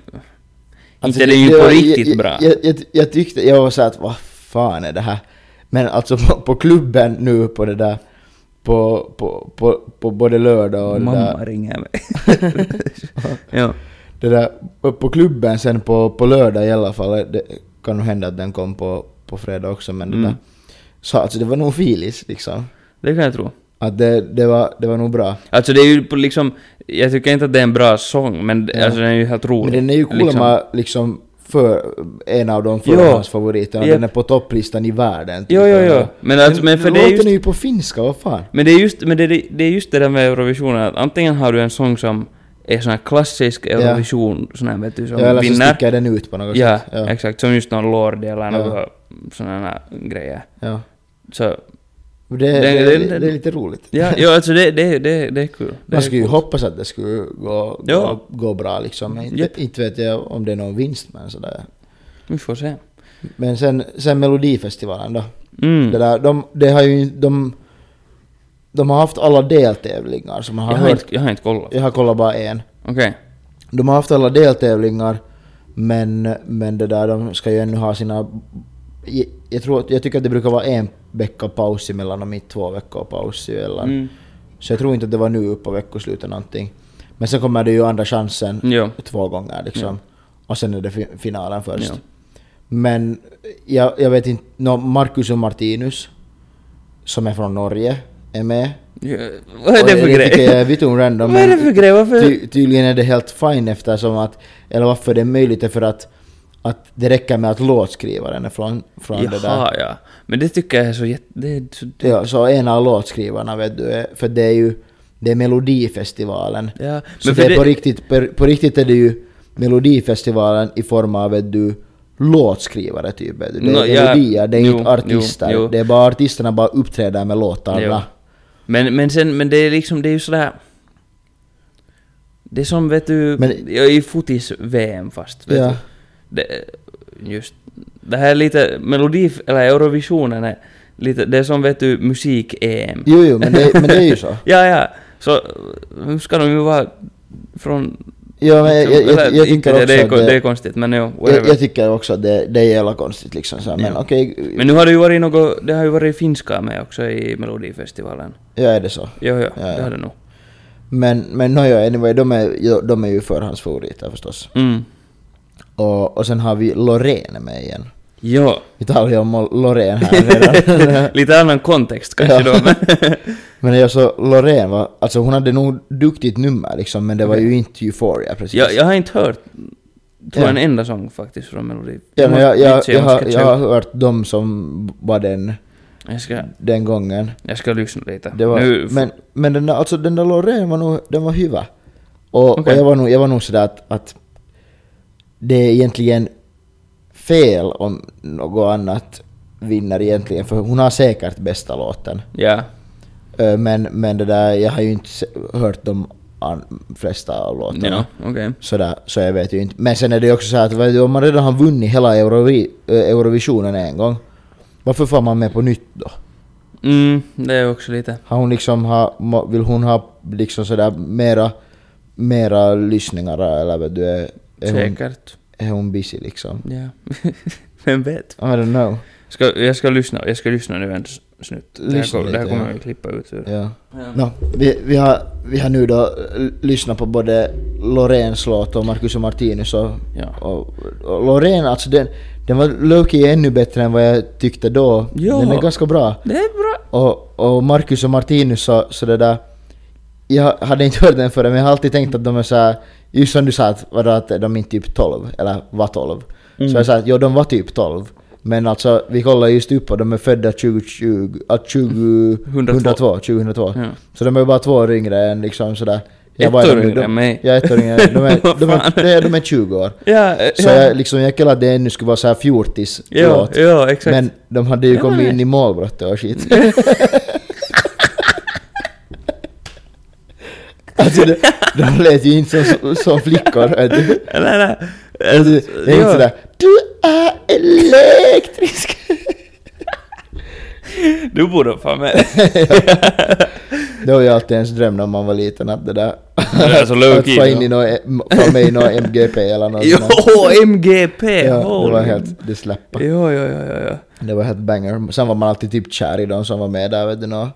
S1: Alltså,
S2: inte det är ju på
S1: jag-
S2: riktigt
S1: jag,
S2: bra.
S1: Jag, jag, jag tyckte, jag var såhär att vad fan är det här? Men alltså på, på klubben nu på det där, på, på, på, på både lördag och det där,
S2: Mamma ringer mig. ja.
S1: det där, på, på klubben sen på, på lördag i alla fall, det kan nog hända att den kom på, på fredag också men det
S2: Mm.
S1: där. Så alltså det var nog filis liksom.
S2: Det kan jag tro.
S1: Att det, det, var, det var nog bra.
S2: Alltså det är ju på liksom... Jag tycker inte att det är en bra sång, men
S1: Ja.
S2: alltså den är ju helt rolig.
S1: Men den är ju
S2: liksom.
S1: kuulemma liksom, för en av de
S2: Jo.
S1: förhandsfavoriterna och
S2: Jep.
S1: den är på topplistan i världen. typ.
S2: Jo, jo, jo. Men, alltså, men för det är
S1: Låten
S2: just...
S1: är ju på finska, vad fan?
S2: Men det är just, men det, det det är just det där med Eurovisionen, att antingen har du en sång som är sån här klassisk Eurovision, sån här vet du, som
S1: Ja, eller så
S2: vinner.
S1: sticker den ut på något
S2: Ja,
S1: sätt. Ja,
S2: exakt. Som just någon Lordi eller
S1: Ja.
S2: några såna här grejer.
S1: ja.
S2: Så,
S1: Men Det, det,
S2: Den-
S1: det,
S2: den-
S1: det,
S2: den-
S1: är lite roligt.
S2: ja, ja alltså det, det, det, det är kul. Det är
S1: Man skulle ju
S2: coolt.
S1: hoppas att det skulle gå, gå,
S2: Ja.
S1: gå bra liksom. Men Inte,
S2: Japp.
S1: inte vet jag om det är någon vinst men sådär.
S2: Vi får se.
S1: Men sen, sen Melodifestivalen då.
S2: Mm.
S1: Det där, de, det har ju, de, de har haft alla deltävlingar som man har
S2: jag, har
S1: hört.
S2: inte, jag har inte kollat.
S1: Jag har kollat bara en.
S2: Okej.
S1: De har haft alla deltävlingar men, men det där, de ska ju ännu ha sina... Jag, jag, tror, att- jag tycker att det brukar vara en vecka paus emellan dem, inte två veckor paus eller
S2: Mm.
S1: Så jag tror inte att det var nu på veckoslutet någonting. Men sen kommer det ju andra chansen
S2: Jo.
S1: två gånger liksom. Och sen är det fi- finalen först.
S2: Ja.
S1: Men jag, jag vet inte, no, Marcus och Martinus som är från Norge är med.
S2: Ja, Vad är det
S1: Och
S2: för
S1: Det tycker jag är
S2: grej?
S1: vitun random.
S2: Vad är det
S1: men
S2: för grej? Varför?
S1: Ty, tydligen är det helt fine eftersom att, eller varför det är möjligt är för att, att det räcker med att låtskrivaren är från, från det där.
S2: Jaha, ja. Men det tycker jag är så jätte... Det är så...
S1: Ja, så en av låtskrivarna vet du, är- för det är ju, det är Melodifestivalen.
S2: Ja.
S1: Så
S2: för
S1: det är på, riktigt, på, på riktigt är det ju Melodifestivalen i form av att du låtskrivare typ. vet du. Det är
S2: Nå, ja.
S1: melodier, det är
S2: Jo,
S1: inte artister.
S2: jo, jo.
S1: Det är bara artisterna bara uppträder med låtarna.
S2: Men, men sen, men det är liksom, det är ju sådär... Det är som vet du,
S1: Men-
S2: ja, i fotis-VM fast vet
S1: Ja.
S2: du. Det, just, det här är lite, melodi, eller Eurovisionen är lite, det är som vet du musik-EM.
S1: Jo, jo, men det, men det är ju så.
S2: Ja, ja. Så nu ska de ju vara från...
S1: Ja, men jag, jag,
S2: eller,
S1: jag, jag
S2: inte
S1: tycker också
S2: det, det, är, ko-
S1: att
S2: det är
S1: det,
S2: konstigt, men jo,
S1: jag,
S2: whatever.
S1: jag tycker också att det, det är jävla konstigt liksom. Så, här, men
S2: Ja.
S1: okej,
S2: Men nu har det ju varit något, det har ju varit finska med också i Melodifestivalen.
S1: ja är det så.
S2: Jo, jo,
S1: Ja, ja.
S2: det har det nog.
S1: Men, men nåja, anyway, de är, ju- de är ju förhandsfavoriter förstås.
S2: Mm.
S1: Och, och sen har vi Loreen med igen.
S2: Jo.
S1: Vi talar ju om Loreen här redan.
S2: Lite annan kontext kanske
S1: Ja.
S2: då, men...
S1: Men jag så Loreen var, alltså hon hade nog duktigt nummer liksom, men det var ju inte Euphoria precis.
S2: jag, jag har inte hört, tror
S1: Ja.
S2: en enda sång faktiskt från Melodi.
S1: ja, men jag,
S2: måste-
S1: jag,
S2: måste-
S1: jag, har,
S2: ska
S1: jag har
S2: jag,
S1: hört dem som var den,
S2: jag, ska,
S1: den gången.
S2: jag ska lyssna lite.
S1: Det var,
S2: nu,
S1: men men den, där- alltså, den där Loreen var nog, den var hyvä. Och,
S2: Okej.
S1: och jag, var nog, jag var nog sådär att, att det är egentligen fel om något annat vinner egentligen, för hon har säkert bästa låten.
S2: Ja.
S1: Ö, Men, men det där, jag har ju inte se- hört de an- flesta av låtarna.
S2: ja Okej.
S1: Sådär, så jag vet ju inte. Men sen är det ju också så här att vet du, om man redan har vunnit hela Eurovi, eh, Eurovisionen en gång, varför får man med på nytt då?
S2: Mm, det är ju också lite...
S1: Har hon liksom ha, må- vill hon ha liksom sådär mera, mera lyssningar eller vet du, är, är, hon,
S2: Säkert.
S1: är hon busy liksom?
S2: Ja. Vem vet?
S1: I don't know.
S2: Ska, jag ska lyssna, jag ska lyssna nu en s- snutt. Det här,
S1: Lyssna
S2: kom, det här
S1: lite,
S2: kommer
S1: ja.
S2: jag klippa ut ur.
S1: Ja. Nå, vi, vi, har, vi har nu då eh, lyssnat på både Loreens låt och Marcus och Martinus och,
S2: Ja.
S1: och, och Loreen alltså den, den var Loki ännu bättre än vad jag tyckte då.
S2: Ja.
S1: Den är ganska bra.
S2: Det är bra.
S1: Och, och Marcus och Martinus så, så det där... Jag hade inte hört den förrän men jag har alltid tänkt att de är såhär... Just som du sa att, vadå, att de är typ 12, eller var 12.
S2: Mm.
S1: Så jag sa att jo de var typ 12. Men alltså vi kollar just upp och de är födda 2020, äh, 20,
S2: 102.
S1: 102, 2002.
S2: Ja.
S1: Så de är ju bara två år yngre än liksom sådär... jag
S2: Ett
S1: var-
S2: år
S1: de-
S2: yngre än mig.
S1: Ja, ett år yngre. De är,
S2: Vad
S1: de,
S2: fan?
S1: är, de, är, de är 20 år.
S2: Ja, eh,
S1: Så
S2: ja.
S1: jag, liksom, jag gillade att det ännu skulle vara såhär
S2: ja,
S1: fjortis-låt.
S2: ja, exakt.
S1: Men de hade ju
S2: Ja,
S1: kommit
S2: nej. Mm.
S1: in i målbrottet och skit. alltså de, de lät ju inte som, som flickor. vet du.
S2: nej, nej.
S1: Alltså, det är inte
S2: Ja.
S1: sådär Du är elektrisk!
S2: Du borde fan med.
S1: Det var ju alltid ens dröm när man var liten att det där...
S2: är så low
S1: att
S2: key,
S1: få in i
S2: ja.
S1: något, få med i något MGP eller något
S2: Jo,
S1: sånt där.
S2: MGP!
S1: Alltså, Ja, det var
S2: holy-
S1: helt... Det släppa.
S2: Jo, jo, jo, jo, jo.
S1: Det var helt banger. Sen var man alltid typ kär i de som var med där vet du nå.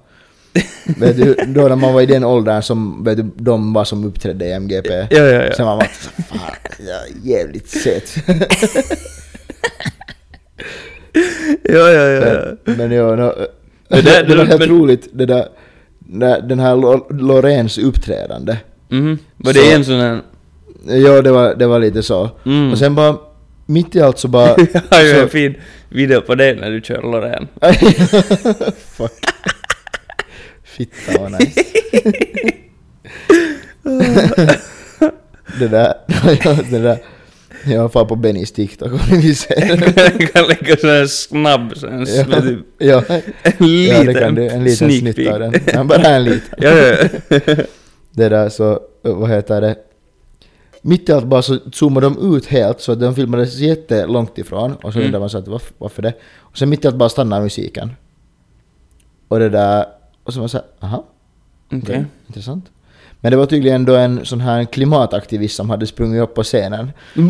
S1: vet du, då när man var i den åldern som vet du, de var som uppträdde i MGP.
S2: Ja, ja, ja.
S1: Sen var man alltid så fan, jag är jävligt söt.
S2: Ja, ja, ja, ja.
S1: men, men ja, nå,
S2: Det
S1: det,
S2: där- det
S1: var helt
S2: men-
S1: roligt det där, när- den här Lo- Loreens uppträdande.
S2: Mhm. Var det
S1: Så-
S2: en sån här...
S1: Ja, det var, det var lite så.
S2: Mm.
S1: Och sen bara, mitt i allt så bara...
S2: Jag har ju en
S1: så,
S2: fin video på dig när du kör Loreen.
S1: Fuck. Fitta vad nice. det där, det där. Jag var på Bennys TikTok om ni vill se.
S2: Jag kan lägga sån här snabb, sån här
S1: Ja,
S2: sl- typ
S1: ja,
S2: en
S1: ja, det kan
S2: liten,
S1: du. En liten
S2: sneak
S1: snitt av
S2: peek.
S1: den. Ja, bara en liten.
S2: Ja, ja, ja.
S1: Det där så, eh, vad heter det? Mitt i allt bara så zoomade de ut helt så att de filmades jättelångt ifrån och så
S2: Mm.
S1: undrar man så att varför, varför det? Och sen mitt i allt bara stannar musiken. Och det där, och så var man såhär, aha.
S2: Okej.
S1: Okej, Intressant. Men det var tydligen då en sån här klimataktivist som hade sprungit upp på scenen.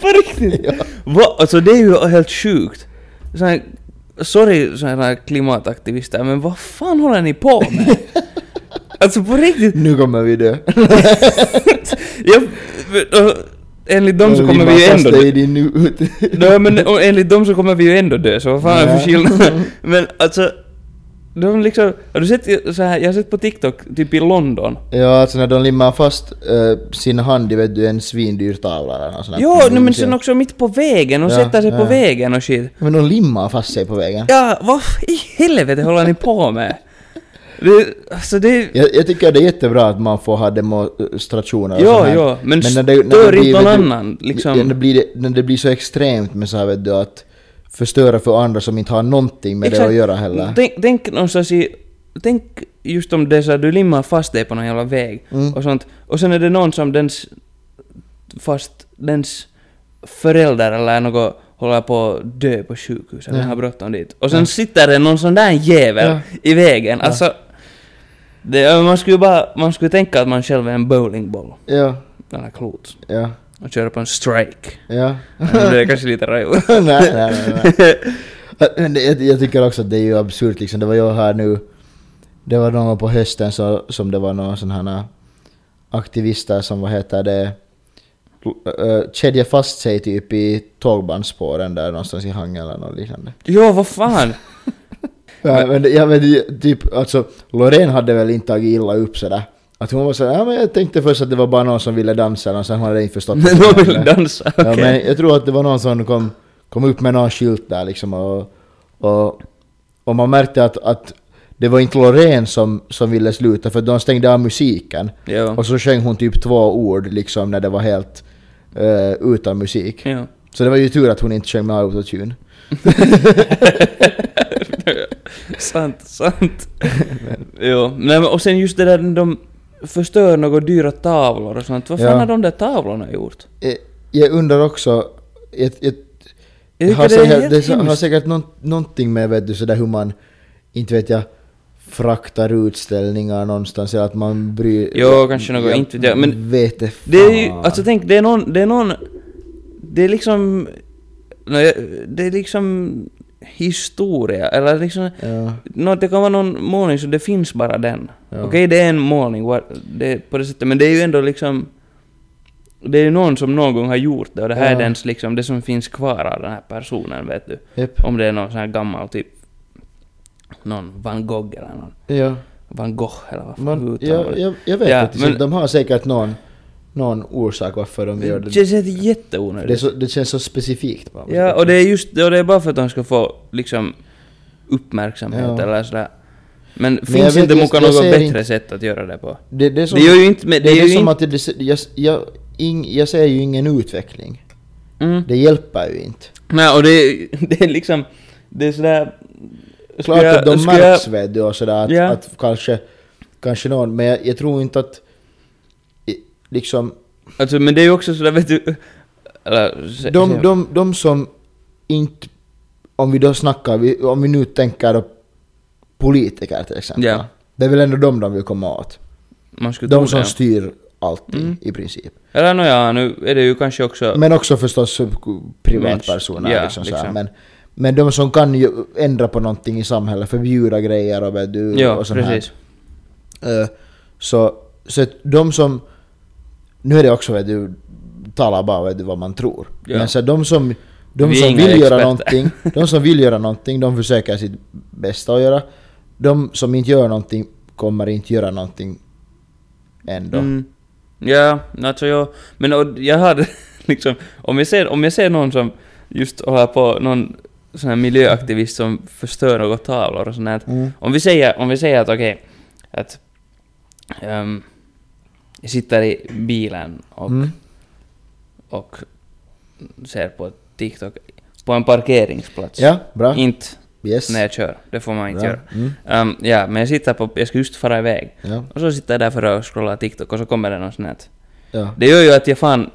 S2: På riktigt?
S1: Ja.
S2: Va? Alltså det är ju helt sjukt. Sån här, sorry såna här klimataktivister, men vad fan håller ni på med? alltså på riktigt.
S1: Nu kommer vi dö.
S2: Jag, och enligt dem så
S1: Vi
S2: kommer
S1: bara
S2: vi ju ändå
S1: fastnar i
S2: dö.
S1: din nut.
S2: Nej, men och enligt dem så kommer vi ju ändå dö, så vad fan är det för
S1: Ja.
S2: skillnad? men alltså, de liksom... Har du sett så här, jag har sett på TikTok, typ i London.
S1: Ja, alltså när de limmar fast eh, sin hand i vet du, en svindyr tavla eller nåt sånt där. Mm,
S2: Jo, nej, men sen
S1: Ja.
S2: också mitt på vägen, och
S1: Ja,
S2: sätter sig på
S1: ja.
S2: vägen och shit.
S1: Men de limmar fast sig på vägen.
S2: Ja, vad i helvete håller ni på med? Det, alltså det...
S1: Jag, jag tycker det är jättebra att man får ha demonstrationer och
S2: Jo,
S1: sånt här.
S2: jo, men
S1: det
S2: stör
S1: blir,
S2: inte någon
S1: vet du,
S2: annan, liksom.
S1: När det, blir, när det blir så extremt med så här vet du att förstöra för andra som inte har någonting med det att göra heller.
S2: Tänk, tänk någonstans i... Tänk just om det är så här, du limmar fast dig på någon jävla väg
S1: Mm.
S2: och sånt. Och sen är det någon som dens... Fast dens föräldrar eller något håller på att dö på sjukhus eller har bråttom dit. Och sen sitter det någon sån där jävel i vägen. Alltså... Det, man skulle ju bara... Man skulle tänka att man själv är en bowlingboll.
S1: Ja,
S2: Eller klot.
S1: ja,
S2: Och köra på en strike.
S1: ja.
S2: Men det är kanske lite rajor.
S1: nej, nej, nej, nej. Men det- Jag, jag tycker också att det är ju absurt liksom. Det var jag här nu. Det var någon gång på hösten så, som det var någon sån här äh, aktivister som vad heter det äh, kedjade fast sig typ i tågbandsspåren där någonstans i Hangö eller något liknande.
S2: Jo, vad fan!
S1: Ja, men, det- ja, men det- typ alltså Loreen hade väl inte tagit illa upp sådär. Att hon var såhär, ja men jag tänkte först att det var bara någon som ville dansa och sen hade jag inte förstått. vad som
S2: Någon
S1: hände."
S2: vill dansa, okej.
S1: Ja, men jag tror att det var någon som kom, kom upp med någon skylt där liksom och, och, och man märkte att, att det var inte Loreen som, som ville sluta för de stängde av musiken.
S2: Jo.
S1: Och så sjöng hon typ två ord liksom när det var helt eh, utan musik.
S2: Jo.
S1: Så det var ju tur att hon inte sjöng med autotune.
S2: sant, sant. jo, nej, men, och sen just det där de förstör några dyra tavlor och sånt. Vad fan
S1: Ja.
S2: har de där tavlorna gjort?
S1: Eh, Jag undrar också, jag, jag,
S2: Jag tycker
S1: har,
S2: det är
S1: säkert,
S2: helt
S1: det har
S2: hemskt.
S1: säkert nån- någonting med vet du, sådär hur man inte vet jag, fraktar utställningar någonstans eller att man bryr
S2: Jo, kanske något, inte vet jag, men
S1: vet det,
S2: Det är ju, alltså tänk, det är någon, det är någon, det är liksom, nej, det är liksom historia, eller liksom,
S1: ja.
S2: nå, det kan vara någon målning så det finns bara den.
S1: Ja.
S2: Okej, det är en målning what- det, är på det sättet, men det är ju ändå liksom, det är ju någon som någon gång har gjort det och det här
S1: Ja.
S2: är dens liksom, det som finns kvar av den här personen, vet du.
S1: Japp.
S2: Om det är någon sån här gammal typ, någon van Gogh eller någon
S1: Ja.
S2: van Gogh eller vad fan hur
S1: Man,
S2: uttalar man
S1: jag,
S2: det?
S1: jag, jag vet
S2: Ja,
S1: inte,
S2: men-
S1: men, de har säkert någon, någon orsak varför de gör
S2: Det
S1: det.
S2: känns helt
S1: Det, är
S2: jätteonödigt.
S1: så, det känns så specifikt. Bara.
S2: Ja, och det är just det, och det är bara för att de ska få liksom uppmärksamhet
S1: Ja.
S2: eller sådär. Men,
S1: jag
S2: finns
S1: vet
S2: inte
S1: just-
S2: Moka
S1: jag
S2: något
S1: ser
S2: bättre
S1: inte-
S2: sätt att göra det på?
S1: det, det är som,
S2: det gör ju inte...
S1: det
S2: Men
S1: är
S2: det, är ju
S1: som
S2: inte...
S1: att det- det, jag, jag, ing, jag ser ju ingen utveckling.
S2: Mm.
S1: Det hjälper ju inte.
S2: Nej, och det, är- det är liksom... Det är sådär...
S1: Klart
S2: Skulle jag-
S1: att de
S2: skulle
S1: märks
S2: jag-
S1: vet du och sådär att,
S2: Ja.
S1: att kanske, kanske någon, men jag, jag tror inte att i- liksom
S2: Alltså, men det är ju också sådär, vet du... Eller, se,
S1: de,
S2: se-
S1: de, de som inte, om vi då snackar, vi- om vi nu tänker då politiker till exempel.
S2: Ja.
S1: Det är väl ändå de de vill komma åt.
S2: man skulle tro
S1: De som
S2: det.
S1: styr allting
S2: Mm.
S1: i princip.
S2: Eller nåja, nu är det ju kanske också...
S1: Men också förstås privatpersoner.
S2: Ja,
S1: liksom så här.
S2: liksom.
S1: Men, men de som kan ju ändra på någonting i samhället, förbjuda grejer och, vet du,
S2: ja,
S1: och sånt här.
S2: precis.
S1: Eh, Så, så att de som... Nu är det också vet du, talar bara vet du, vad man tror.
S2: Ja.
S1: Men så att de som, de
S2: Vi är
S1: som
S2: inga
S1: vill göra
S2: experter.
S1: någonting, de som vill göra någonting, de försöker sitt bästa att göra. De som inte gör någonting kommer inte göra någonting ändå.
S2: Mm. Ja, alltså jag... Men och, jag hade liksom... Om jag, ser, om jag ser någon som just håller på, någon sån här miljöaktivist som förstör några tavlor och sånt här.
S1: Mm.
S2: Om vi säger, om vi säger att okej, att... ehm, jag sitter i bilen och,
S1: Mm.
S2: och ser på TikTok på en parkeringsplats.
S1: Ja, bra.
S2: Inte
S1: Yes.
S2: när jag kör, det får man inte
S1: bra.
S2: göra.
S1: Mm.
S2: Ehm, ja, men jag sitter på... Jag ska just fara iväg.
S1: Ja.
S2: Och så sitter jag där för att scrolla TikTok och så kommer det någon sån här
S1: Ja.
S2: det gör ju att jag fan...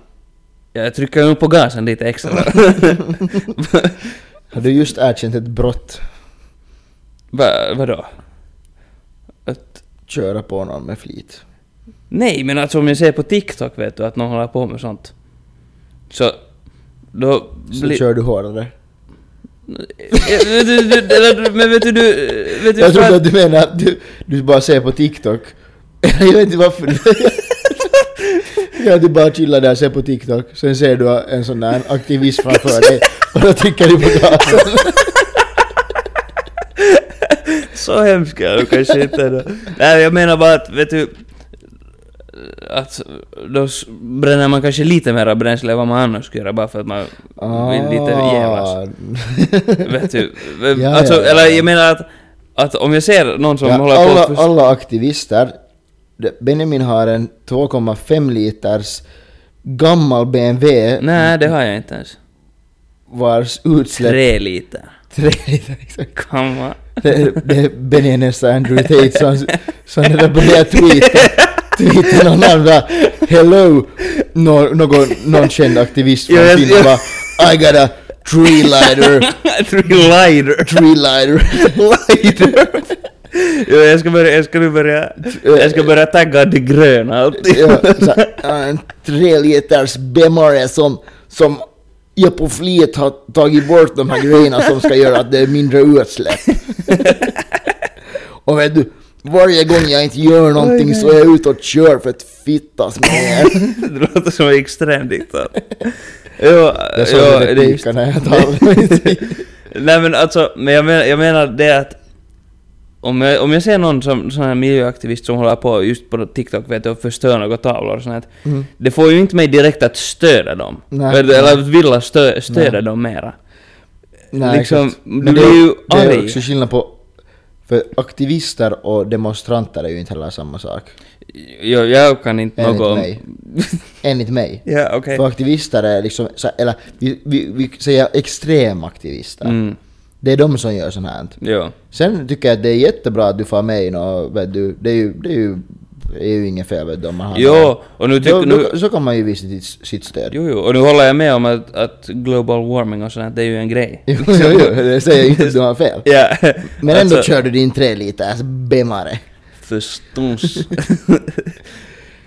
S2: Jag trycker nog på gasen lite extra.
S1: Har du just erkänt ett brott?
S2: Va, vadå? Att,
S1: Köra på någon med flit.
S2: nej, men alltså om jag ser på TikTok vet du att någon håller på med sånt. Så... Då...
S1: Så
S2: blir-
S1: kör du hårdare.
S2: Eh, vet du, du, eller, men vet du, du... Vet du
S1: Jag
S2: fan-
S1: trodde att du menade att du, du bara ser på TikTok. jag vet inte varför. ja, du bara chillar där och ser på TikTok. Sen ser du en sån där aktivist framför dig. Och då trycker du på gasen.
S2: Så hemsk är jag kanske inte ändå. Nej, jag menar bara att, vet du... Att då s- bränner man kanske lite mer bränsle än vad man annars skulle göra bara för att man vill lite jävlas. Vet du?
S1: Ah. Ja,
S2: alltså,
S1: ja, ja.
S2: eller jag menar att, att om jag ser någon som
S1: Ja,
S2: håller
S1: alla,
S2: på... För,
S1: alla aktivister. det- Benjamin har en 2,5 liters gammal BMW
S2: nej, det har jag inte ens.
S1: vars utsläpp...
S2: Tre liter.
S1: Tre liter, exakt.
S2: Kan man?
S1: Det, det är Benny är nästan Andrew Tate som, som när de börjar tweeta, tweeta någon andra ”Hello” nå- någon, någon känd aktivist
S2: Jo,
S1: från
S2: jag-
S1: Finland
S2: jag-
S1: bara ”I got a tree lighter,
S2: Tre lighter.
S1: tree lighter”.
S2: lighter. jo, jag ska börja, jag ska nu börja, jag ska börja tagga det gröna alltid.
S1: Ja, så, här, en tre liters bemmare som, som jag på flit har tagit bort de här grejerna som ska göra att det är mindre utsläpp. Och vet du, varje gång jag inte gör någonting så är jag ute och kör för att fittas med er.
S2: det låter som en extrem diktat. Jo,
S1: Jag såg
S2: jo,
S1: ja,
S2: det är just-
S1: replikerna jag talade
S2: Nej men alltså, men jag, menar, jag menar det att om jag, om jag ser någon som, sån här miljöaktivist som håller på just på TikTok vet du, och förstör några tavlor och sånt här,
S1: Mm.
S2: Det får ju inte mig direkt att stödja dem.
S1: Nej.
S2: Eller- Eller att vilja stö, stödja
S1: Nej.
S2: dem mera.
S1: Nej,
S2: Liksom,
S1: exakt.
S2: du
S1: Men det,
S2: blir ju
S1: det är
S2: arg.
S1: också skillnad på... För aktivister och demonstranter är ju inte heller samma sak.
S2: Jag, jag kan inte
S1: Enligt
S2: något om...
S1: mig. Enligt mig.
S2: Ja, okej.
S1: För aktivister är liksom, så- eller vi, vi, vi säger extremaktivister.
S2: Mm,
S1: Det är de som gör sånt här.
S2: jo.
S1: Sen tycker jag att det är jättebra att du får med i något, vet du, det är ju, det är ju Det är ju inget fel vet du om man har...
S2: Jo, och nu
S1: då,
S2: tycker... Nu,
S1: då, så kan man ju visa sitt, sitt stöd.
S2: jo, jo, och nu håller jag med om att, att global warming och sånt, det är ju en grej.
S1: Jo, jo, jo, det säger jag inte att du har fel.
S2: Ja.
S1: Men ändå
S2: Alltså,
S1: kör du din alltså, tre liters bemmare.
S2: Förstås.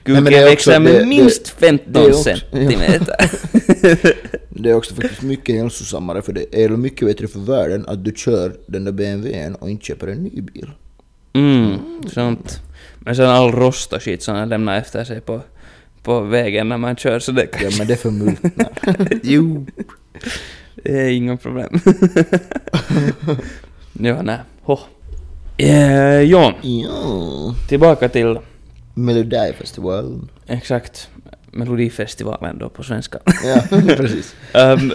S1: Nej, men det
S2: Kuken
S1: är
S2: växer
S1: också- det-
S2: med
S1: det-
S2: minst
S1: det är
S2: 15
S1: också-
S2: centimeter.
S1: Det är också faktiskt mycket hälsosammare för det är mycket bättre för världen att du kör den där BMWn och inte köper en ny bil.
S2: Mm, sånt. Men sen all rost och skit som den lämnar efter sig på, på vägen när man kör så det
S1: Ja
S2: kan...
S1: men det förmultnar.
S2: jo. Det är inga problem. ja, nej. Hå. Eh, Jon,
S1: ja.
S2: tillbaka till
S1: Melodifestivalen.
S2: exakt Melodifestivalen då på svenska.
S1: Ja, precis.
S2: Ehm,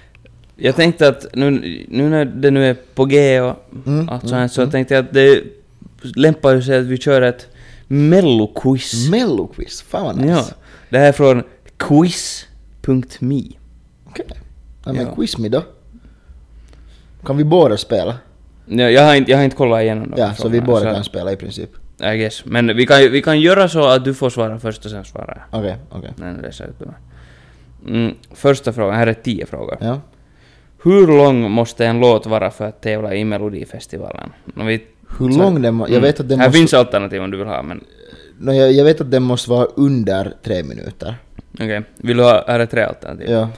S2: jag tänkte att nu, nu när det nu är på G och
S1: Mm,
S2: allt sånt
S1: mm,
S2: här Alltså, så
S1: mm.
S2: tänkte jag att det lämpar ju sig att vi kör ett melloquiz.
S1: Melloquiz, fan vad nice.
S2: Ja, det här är från quiz.me.
S1: Okej. Ja, men
S2: Ja.
S1: quiz me då. Kan vi båda spela?
S2: Ja, jag, har inte, jag har inte kollat igenom de
S1: Ja,
S2: här
S1: så vi båda
S2: frågorna,
S1: kan spela i princip.
S2: I guess. Men vi kan, ju- vi kan göra så att du får svara först och sen svarar jag.
S1: Okej, okej.
S2: När du läser ut dem. Mm, första frågan, här är tio frågor.
S1: Ja.
S2: Hur lång måste en låt vara för att tävla i Melodifestivalen? Om vi-
S1: Hur
S2: så-
S1: lång den må- Jag vet att den
S2: Här
S1: måste...
S2: finns alternativ om du vill ha, men
S1: No, jag, jag vet att den måste vara under tre minuter.
S2: okej. Vill du ha, här är tre alternativ.
S1: Ja.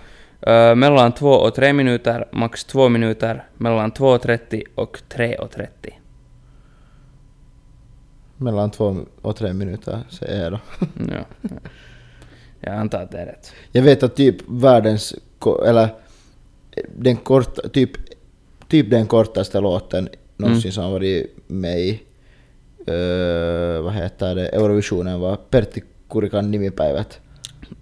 S2: Ö, mellan två och tre minuter, max två minuter, mellan 2.30 och 3.30.
S1: Mellan två och tre minuter säger jag då.
S2: Ja. ja. Jag antar att det är rätt.
S1: Jag vet att typ världens, ko- eller den korta, typ, typ den kortaste låten någonsin
S2: Mm.
S1: som varit med i, eh, vad heter det, Eurovisionen var Pertti Kurikan nimipäivät.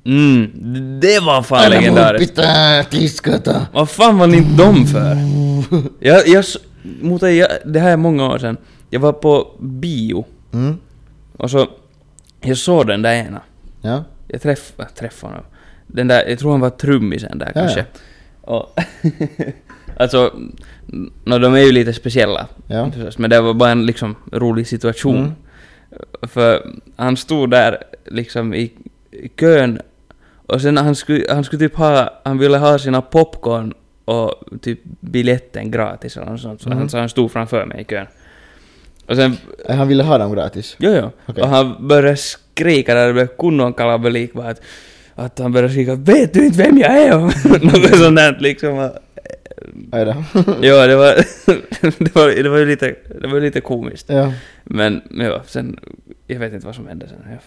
S2: Mm, d- det var fan legendariskt.
S1: pitää tiskata!
S2: Vad fan var ni dom för? Jag, jag, s- mot dig, jag, det här är många år sedan. Jag var på bio
S1: Mm,
S2: och så, jag såg den där ena.
S1: ja.
S2: Jag träff, äh, träffade honom. Den där, jag tror han var trummisen där
S1: Ja,
S2: kanske. Och alltså, no, de är ju lite speciella.
S1: Ja.
S2: förstås, Men det var bara en liksom rolig situation.
S1: Mm.
S2: För han stod där liksom i i kön och sen han skulle, han skulle typ ha, han ville ha sina popcorn och typ biljetten gratis eller något sånt. Så
S1: Mm.
S2: han, så han stod framför mig i kön. Och sen
S1: Eh, Han ville ha dem gratis.
S2: Jo, jo.
S1: Okej.
S2: Och han började skrika där det blev kunnon kalabalik bara att, att han började skrika ”Vet du inte vem jag är?” och något sånt där liksom. Och-
S1: Aj då.
S2: Ja, det var, det var, det var ju lite, det var ju lite komiskt.
S1: ja.
S2: Men ja, sen, jag vet inte vad som hände sen. Jag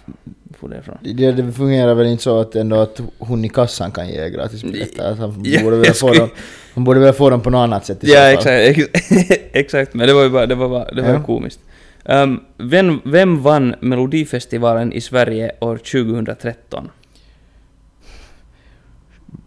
S2: for därifrån.
S1: Det, det fungerar väl inte så att ändå att hon i kassan kan ge gratis biljetter? Att han
S2: Ja,
S1: borde väl
S2: jag
S1: få
S2: skulle-
S1: dem, han borde väl få dem på något annat sätt i så
S2: Ja,
S1: fall.
S2: exakt, ex- exakt. Men det var ju bara, det var bara, det var ju
S1: Ja.
S2: komiskt. Ehm, vem, vem vann Melodifestivalen i Sverige år 2013?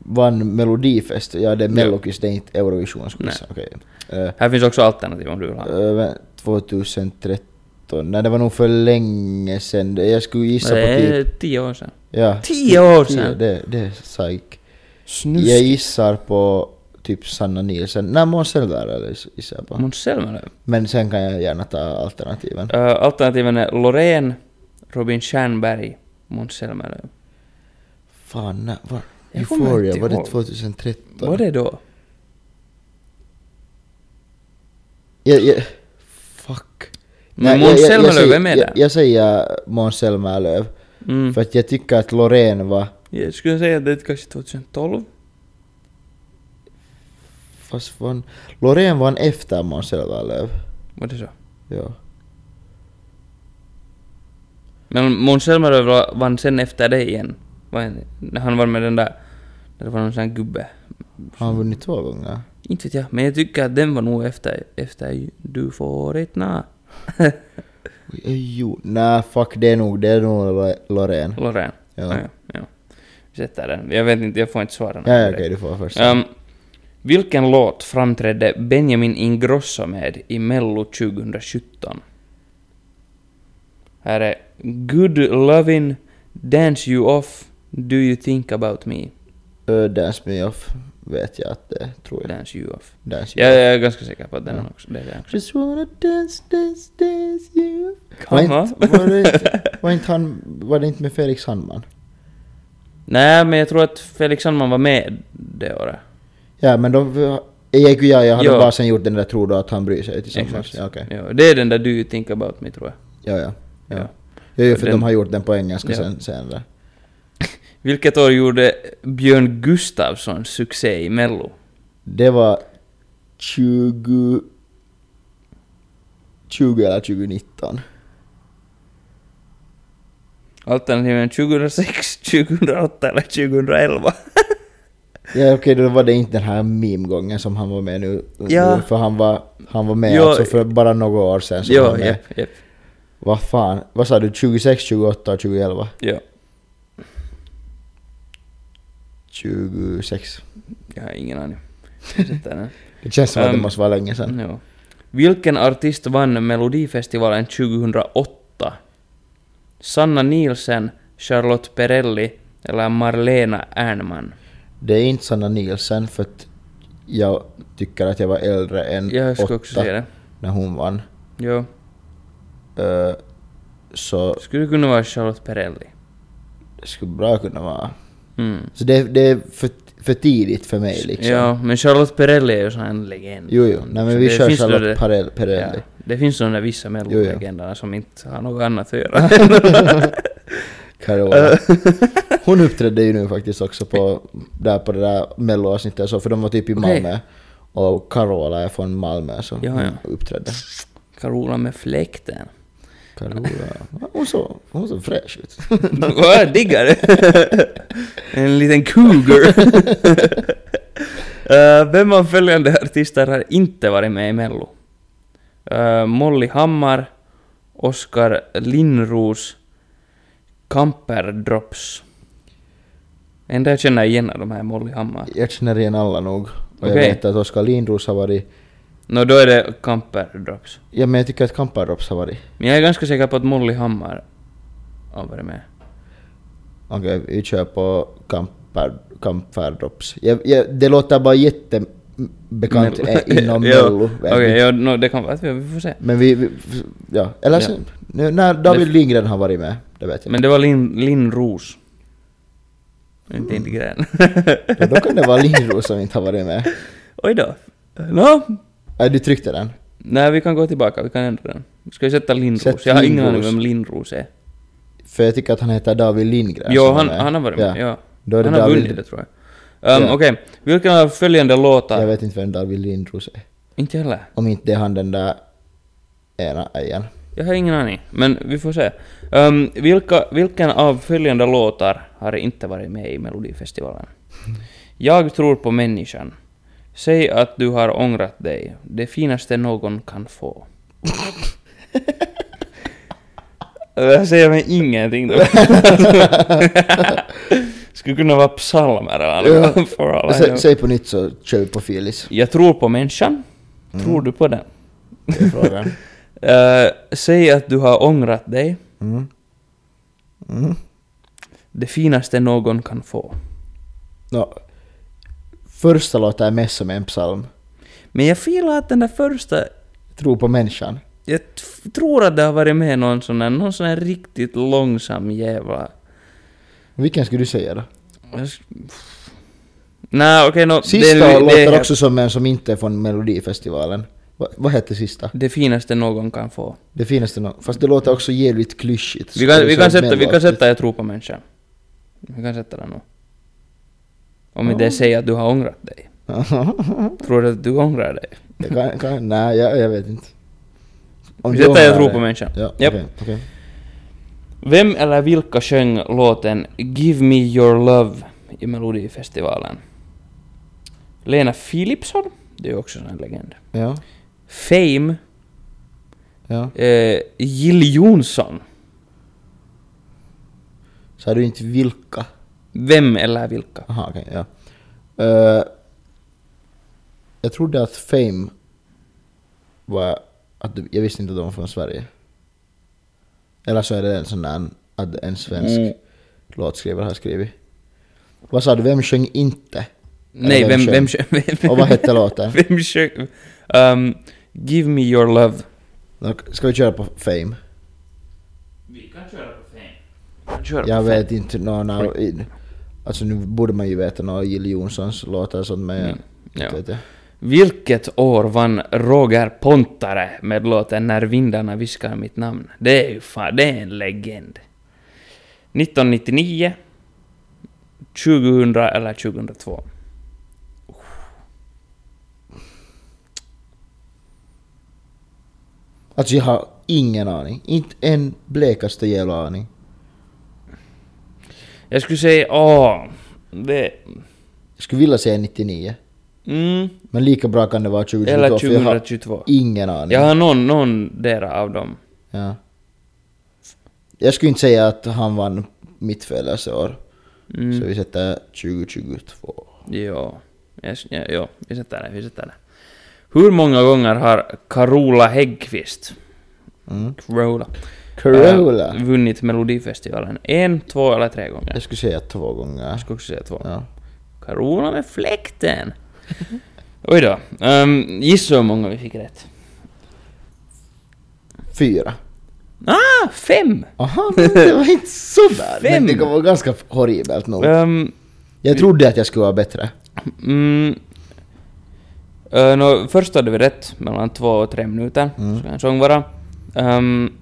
S1: Vann Melodifest, ja det är
S2: Ja.
S1: Mellokis, det är inte Eurovision skulle jag
S2: Nej.
S1: säga. Okej. Eh,
S2: Här finns också alternativ om du vill ha.
S1: eh, vä- 2013, nej det var nog för länge sedan. Jag skulle gissa på
S2: det är
S1: typ...
S2: Eh, tio år sedan.
S1: Ja.
S2: Tio år
S1: Tio,
S2: sedan!
S1: det, det är psyk.
S2: Snus.
S1: Jag gissar på typ Sanna Nielsen. Nej Måns Zelmerlöw gissar jag på.
S2: Måns Zelmerlöw.
S1: Men sen kan jag gärna ta alternativen.
S2: Ö, alternativen är Loreen, Robin Stjernberg, Måns Zelmerlöw.
S1: Fan, när var
S2: Jag kommer
S1: Euphoria,
S2: inte
S1: var det
S2: ihåg.
S1: 2013?
S2: Var det då?
S1: Jag, jag, fuck.
S2: Men
S1: Nej,
S2: Måns
S1: jag- jag- jag
S2: Zelmerlöw,
S1: säger-
S2: vem är
S1: jag,
S2: det?
S1: jag säger Måns Zelmerlöw.
S2: Mm.
S1: För att jag tycker att Loreen var...
S2: Jag skulle säga att det är kanske 2012.
S1: Fast vann... Loreen vann efter Måns Zelmerlöw.
S2: Var det så?
S1: Ja.
S2: Men Måns Zelmerlöw va- vann sen efter det igen. Var en- när Han var med den där... Det var någon sån här gubbe.
S1: Har han vunnit två gånger?
S2: Inte vet jag, men jag tycker att den var nog efter... Efter Du får ett na.
S1: Oj, oj, Eh, Jo, nej fuck det är nog, det är nog Lo- Loreen.
S2: Loreen.
S1: Ja.
S2: Ja. ja, Vi sätter den. Jag vet inte, jag får inte svara.
S1: Ja, ja, okej du får först.
S2: Ehm, vilken låt framträdde Benjamin Ingrosso med i Mello 2017? Här är Good Lovin', Dance You Off, Do You Think About Me?
S1: Ö, Eh, Dance Me Off vet jag att det är, tror jag.
S2: Dance You Off.
S1: Dance
S2: Ja,
S1: Me Off.
S2: jag är ganska säker på att den
S1: Ja.
S2: är också. Det är den också.
S1: Just wanna dance, dance, dance you.
S2: Come on.
S1: Var det inte? Var, inte han, var det inte med Felix Sandman?
S2: Nej, men jag tror att Felix Sandman var med det året.
S1: Ja men då... Eik och jag, jag hade
S2: Jo.
S1: bara sen gjort den där tro då att han bryr sig tillsammans.
S2: Exakt.
S1: Ja, okej.
S2: Ja, det är den där Do You Think About Me tror jag.
S1: Ja, ja. Ja,
S2: Ja.
S1: ja. ja för
S2: Den-
S1: de har gjort den på engelska
S2: Ja.
S1: sen, sen där.
S2: Vilket år gjorde Björn Gustafsson succé i Mello?
S1: Det var 20... 20 eller 2019.
S2: Alternativen 2006, 2008 eller 2011?
S1: Ja okej, då var det inte den här meme-gången som han var med nu.
S2: Ja.
S1: nu för han var, han var med
S2: Jo.
S1: alltså för bara några år sen. Så han var
S2: Jo,
S1: med.
S2: japp, japp.
S1: Vad fan, vad sa du? 26, 28 och 2011?
S2: Ja.
S1: 26.
S2: Jag har ingen aning. Jag sätter den.
S1: Det känns som att det
S2: Ehm,
S1: måste vara länge sen.
S2: Ja. Vilken artist vann Melodifestivalen 2008? Sanna Nielsen, Charlotte Perrelli eller Marlena Ernman?
S1: Det är inte Sanna Nielsen för att jag tycker att jag var äldre än
S2: Jag skulle
S1: Mm, åtta
S2: också säga det.
S1: när hon vann.
S2: Jo.
S1: Eh, så
S2: Skulle det kunna vara Charlotte Perrelli?
S1: det skulle bra kunna vara...
S2: Mm.
S1: Så det, det är för, för tidigt för mig liksom.
S2: Ja, men Charlotte Perrelli är ju sån här en legend.
S1: Jo, jo. Nej, men
S2: Så
S1: vi
S2: det
S1: kör
S2: finns då
S1: Charlotte
S2: det-
S1: Perrell- Perrelli.
S2: Ja, det finns sådana vissa
S1: Jo, jo.
S2: mellolegenderna som inte har något annat att göra.
S1: Carola. Hon uppträdde ju nu faktiskt också på, där på det där melloavsnittet och så, för de var typ i
S2: Okej.
S1: Malmö. Och Carola är från Malmö så
S2: Ja,
S1: hon
S2: ja.
S1: uppträdde.
S2: Carola med fläkten.
S1: Carola. Ja, Hon såg, hon såg fräsch ut.
S2: Vad jag diggar det! en liten cougar. Eh, vem av följande artister har inte varit med i Mello? Eh, Molly Hammar, Oskar Linnros, Kamperdrops. Enda jag känner igen av de här är Molly Hammar.
S1: Jag känner igen alla nog. Och jag
S2: Okej.
S1: vet att Oskar Lindros har varit...
S2: Nå då är det Kamperdrops.
S1: Ja men jag tycker att Kamparrops har varit.
S2: Men jag är ganska säker på att Molly Hammar har varit med.
S1: Okej, vi kör på Kampar, Kamparrops. Jag, jag, det låter bara jättebekant
S2: Mello.
S1: eh, inom
S2: Jo,
S1: Mello. vet
S2: Okej,
S1: du.
S2: ja, nå, det kan vara att vi, vi får se.
S1: Men vi, vi ja, eller så,
S2: Ja.
S1: nu, när David Lindgren har varit med, det vet jag.
S2: Men det var Linn Lin Ros. Inte mm. gren.
S1: Men då kan det vara Lindros som inte har varit med.
S2: Oj då. Nå,
S1: Nej, du tryckte den.
S2: nej vi kan gå tillbaka, vi kan ändra den. Ska vi sätta Lindros?
S1: Sätt
S2: Jag har ingen
S1: Lindros.
S2: aning vem Lindros är.
S1: För jag tycker att han heter David Lindgren.
S2: jo,
S1: som var
S2: han,
S1: med.
S2: han har varit med, ja.
S1: Då är det
S2: Han har
S1: David-
S2: vunnit det tror jag. Um,
S1: Ja.
S2: Okej, vilken av följande låtar?
S1: Jag vet inte vem David Lindros är.
S2: Inte heller.
S1: Om inte det är han den där ena igen.
S2: Jag har ingen aning, men vi får se. Ehm, vilka, vilken av följande låtar har inte varit med i Melodifestivalen? Jag tror på människan. Säg att du har ångrat dig. Det finaste någon kan få. Det här säger mig ingenting då. Skulle kunna vara psalmer eller något. For all I
S1: Sä,
S2: know.
S1: säg på nytt så kör vi på Filis.
S2: Jag tror på människan.
S1: Mm.
S2: Tror du på den?
S1: Det är frågan.
S2: Eh, säg att du har ångrat dig.
S1: Mm. Mm.
S2: Det finaste någon kan få.
S1: Nå, första låten är mest som en psalm.
S2: Men jag filar att den där första...
S1: Tro på människan.
S2: Jag t- tror att det har varit med någon sån här, någon sån här riktigt långsam jävla...
S1: Vilken skulle du säga då?
S2: Jag s- Nej, okej nå...
S1: Sista
S2: det,
S1: låter
S2: det,
S1: också som en som inte är från Melodifestivalen. Va, vad hette sista?
S2: Det finaste någon kan få.
S1: Det finaste nå. Fast det låter också jävligt klyschigt.
S2: Vi kan,
S1: Skulle
S2: vi
S1: säga
S2: kan, sätta, vi kan
S1: mellanaktigt.
S2: sätta Jag tror på människan. Vi kan sätta den nu. Om inte jag säger att du har ångrat dig. Tror du att du ångrar dig?
S1: Jag kan, kan, nej, jag, jag vet inte.
S2: Vi
S1: du
S2: sätter jag
S1: ångrar
S2: tror
S1: det-
S2: på människan.
S1: Ja,
S2: Japp.
S1: okej, okej.
S2: Vem eller vilka sjöng låten Give Me Your Love i Melodifestivalen? Lena Philipsson, det är ju också en sån här legend.
S1: Ja,
S2: Fame,
S1: ja.
S2: eh, Jill Johnson.
S1: Så har du inte vilka?
S2: Vem eller vilka?
S1: Aha, okej, ja. Eh, jag trodde att Fame var... Att, du- jag visste inte att de var från Sverige. Eller så är det en sån där, att en svensk
S2: Mm.
S1: låtskrivare har skrivit. Vad sa du, vem sjöng inte? Eller
S2: Nej, vem,
S1: sjöng?
S2: vem, sjö- vem,
S1: Och vad hette låten?
S2: vem sjöng? Um, give Me Your Love.
S1: Ska vi köra på Fame?
S2: Vi kan köra på Fame. Han kör
S1: Jag
S2: på
S1: vet
S2: fem.
S1: inte, no, no, i- alltså nu borde man ju veta några Jill Johnsons låtar och sånt men jag
S2: Mm, ja.
S1: inte vet jag.
S2: Vilket år vann Roger Pontare med låten När vindarna viskar mitt namn? Det är ju fan, det är en legend. 1999, 2000 eller 2002?
S1: Alltså jag har ingen aning. Inte en blekaste jävla aning.
S2: Jag skulle säga, åh, det...
S1: Jag skulle vilja säga 99.
S2: Mm,
S1: Men lika bra kan det vara 2022
S2: eller
S1: för jag har
S2: 2022.
S1: ingen aning.
S2: Jag har någon, någon dera av dem.
S1: Ja. Jag skulle inte säga att han vann mitt födelseår.
S2: Mm.
S1: Så vi sätter 2022.
S2: Ja, jag, ja, ja, vi sätter det, vi sätter det. Hur många gånger har Carola Häggkvist,
S1: Mm.
S2: Carola,
S1: Corolla.
S2: eh, vunnit Melodifestivalen? En, två eller tre gånger?
S1: Äh, Jag skulle säga två gånger.
S2: Jag skulle också säga två.
S1: Ja.
S2: Carola med fläkten! Oj då. Um, gissa hur många vi fick rätt.
S1: Fyra.
S2: Ah, fem!
S1: Aha, men det var inte sådär. Men
S2: Fem.
S1: det var ganska horribelt nog.
S2: Ehm,
S1: Jag trodde att jag skulle vara bättre.
S2: Mm. Eh, nå, först hade vi rätt, mellan två och tre minuter,
S1: Mm.
S2: ska en sång vara. Ehm,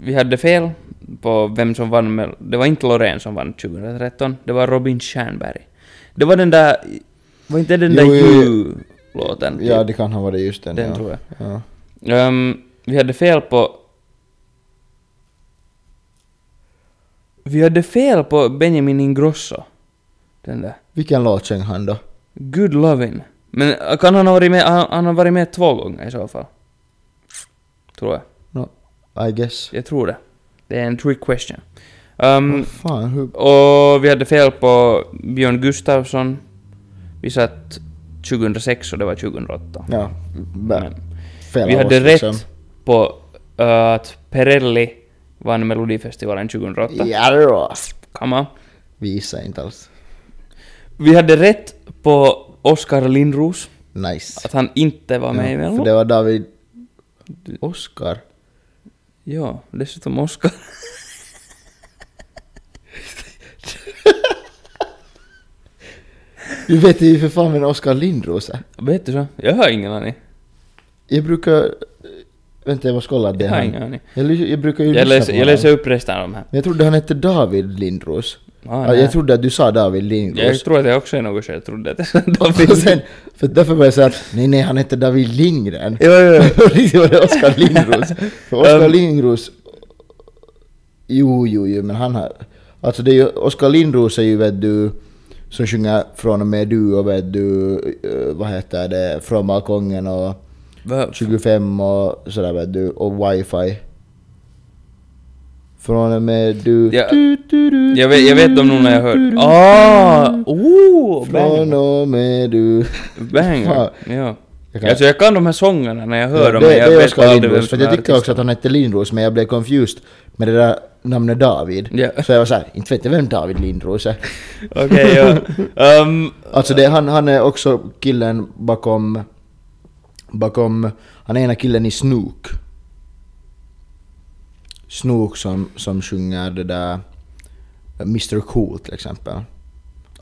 S2: vi hade fel på vem som vann, med, det var inte Loreen som vann 2013, det var Robin Stjernberg. Det var den där, var inte den
S1: Jo,
S2: där
S1: jo, jo.
S2: You-låten?
S1: Ja, det kan ha varit just den.
S2: Den
S1: ja.
S2: tror jag.
S1: Ja.
S2: Ehm, vi hade fel på... Vi hade fel på Benjamin Ingrosso. Den där.
S1: Vilken låt sjöng han då?
S2: Good lovin. Men äh, kan han ha varit med, han, han har varit med två gånger i så fall. Tror jag.
S1: No, I guess.
S2: Jag tror det. Det är en trick question. Ehm,
S1: Vad fan, hur...
S2: och vi hade fel på Björn Gustafsson. Vi satt 2006 och det var 2008.
S1: Ja,
S2: Men
S1: bä, fel
S2: vi
S1: av
S2: hade
S1: oss,
S2: rätt
S1: liksom.
S2: på äh, att Perelli vann Melodifestivalen 2008.
S1: Ja då.
S2: Come on.
S1: Visa inte alls.
S2: Vi hade rätt på Oskar Lindros.
S1: Nice.
S2: Att han inte var med i
S1: ja, för
S2: Mello.
S1: det var David... Oscar?
S2: Ja, dessutom Oskar.
S1: Du vet ju för fan vem Oscar Lindros är.
S2: Vet du så? Jag har ingen aning.
S1: Jag brukar... Vänta, jag måste kolla att det
S2: Jag
S1: är
S2: har
S1: han.
S2: ingen aning.
S1: Jag, ly- jag brukar ju
S2: Jag,
S1: lyssna
S2: läser,
S1: på
S2: jag
S1: honom.
S2: läser upp resten av de här.
S1: Men jag trodde han hette David Lindros.
S2: Ah,
S1: Ja,
S2: nej.
S1: jag trodde att du sa David Lindros.
S2: jag tror att jag också är något så jag trodde att
S1: Och sen, för därför började jag säga att nej, nej, han heter David Lindgren.
S2: Jo, jo, jo.
S1: Riktigt var det liksom Oskar Lindros. För Oskar
S2: Um.
S1: Lindros... Jo, jo, jo, men han har... Alltså det är ju... Oskar Lindros är ju vet du... Som sjunger från och med du och vet du... eh, Vad heter det? Från balkongen och...
S2: Va?
S1: 25 och sådär vet du. Och wifi. Från och med du...
S2: Ja.
S1: du, du, du,
S2: Jag vet, jag vet om någon när jag hörde... Ah! Oh!
S1: Från
S2: Banger!
S1: och med du...
S2: Banger.
S1: Fan.
S2: Ja.
S1: Jag kan-
S2: Alltså jag kan de här sångerna när jag hör
S1: Ja,
S2: dem,
S1: det,
S2: men jag
S1: det är
S2: vet
S1: Oskar
S2: aldrig vem
S1: Lindros, för
S2: som
S1: jag
S2: är
S1: tycker också att
S2: artisten.
S1: han hette Lindros, men jag blev confused med det där namnet David.
S2: Ja.
S1: Så jag var såhär, inte vet jag vem David Lindros är.
S2: Okej, ja. Um,
S1: Alltså det, han, han är också killen bakom, bakom, han är ena killen i Snook. Snook som, som sjunger det där Mr Cool till exempel.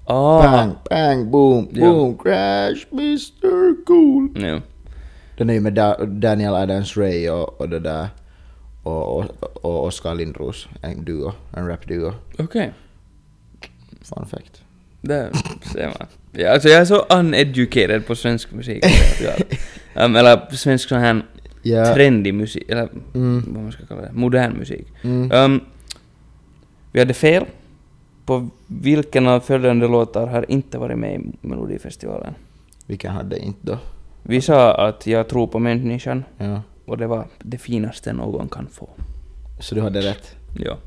S2: ah!
S1: Bang, bang, boom,
S2: Ja.
S1: boom, crash, Mr Cool.
S2: Ja.
S1: Den är ju med da- Daniel Adams-Ray och, och det där och, och, och Oskar Lindros, en duo, en rap-duo.
S2: Okej.
S1: Fun fact.
S2: Där ser man. Ja, alltså jag är så uneducated på svensk musik. um, eller svensk sån här
S1: Ja,
S2: trendig musik, eller
S1: Mm.
S2: vad man ska kalla det, modern musik.
S1: mm.
S2: Um, vi hade fel på vilken av följande låtar har inte varit med i Melodifestivalen.
S1: Vilken hade inte då?
S2: Vi sa att jag tror på människan
S1: Ja.
S2: och det var det finaste någon kan få.
S1: Så du hade rätt?
S2: Ja.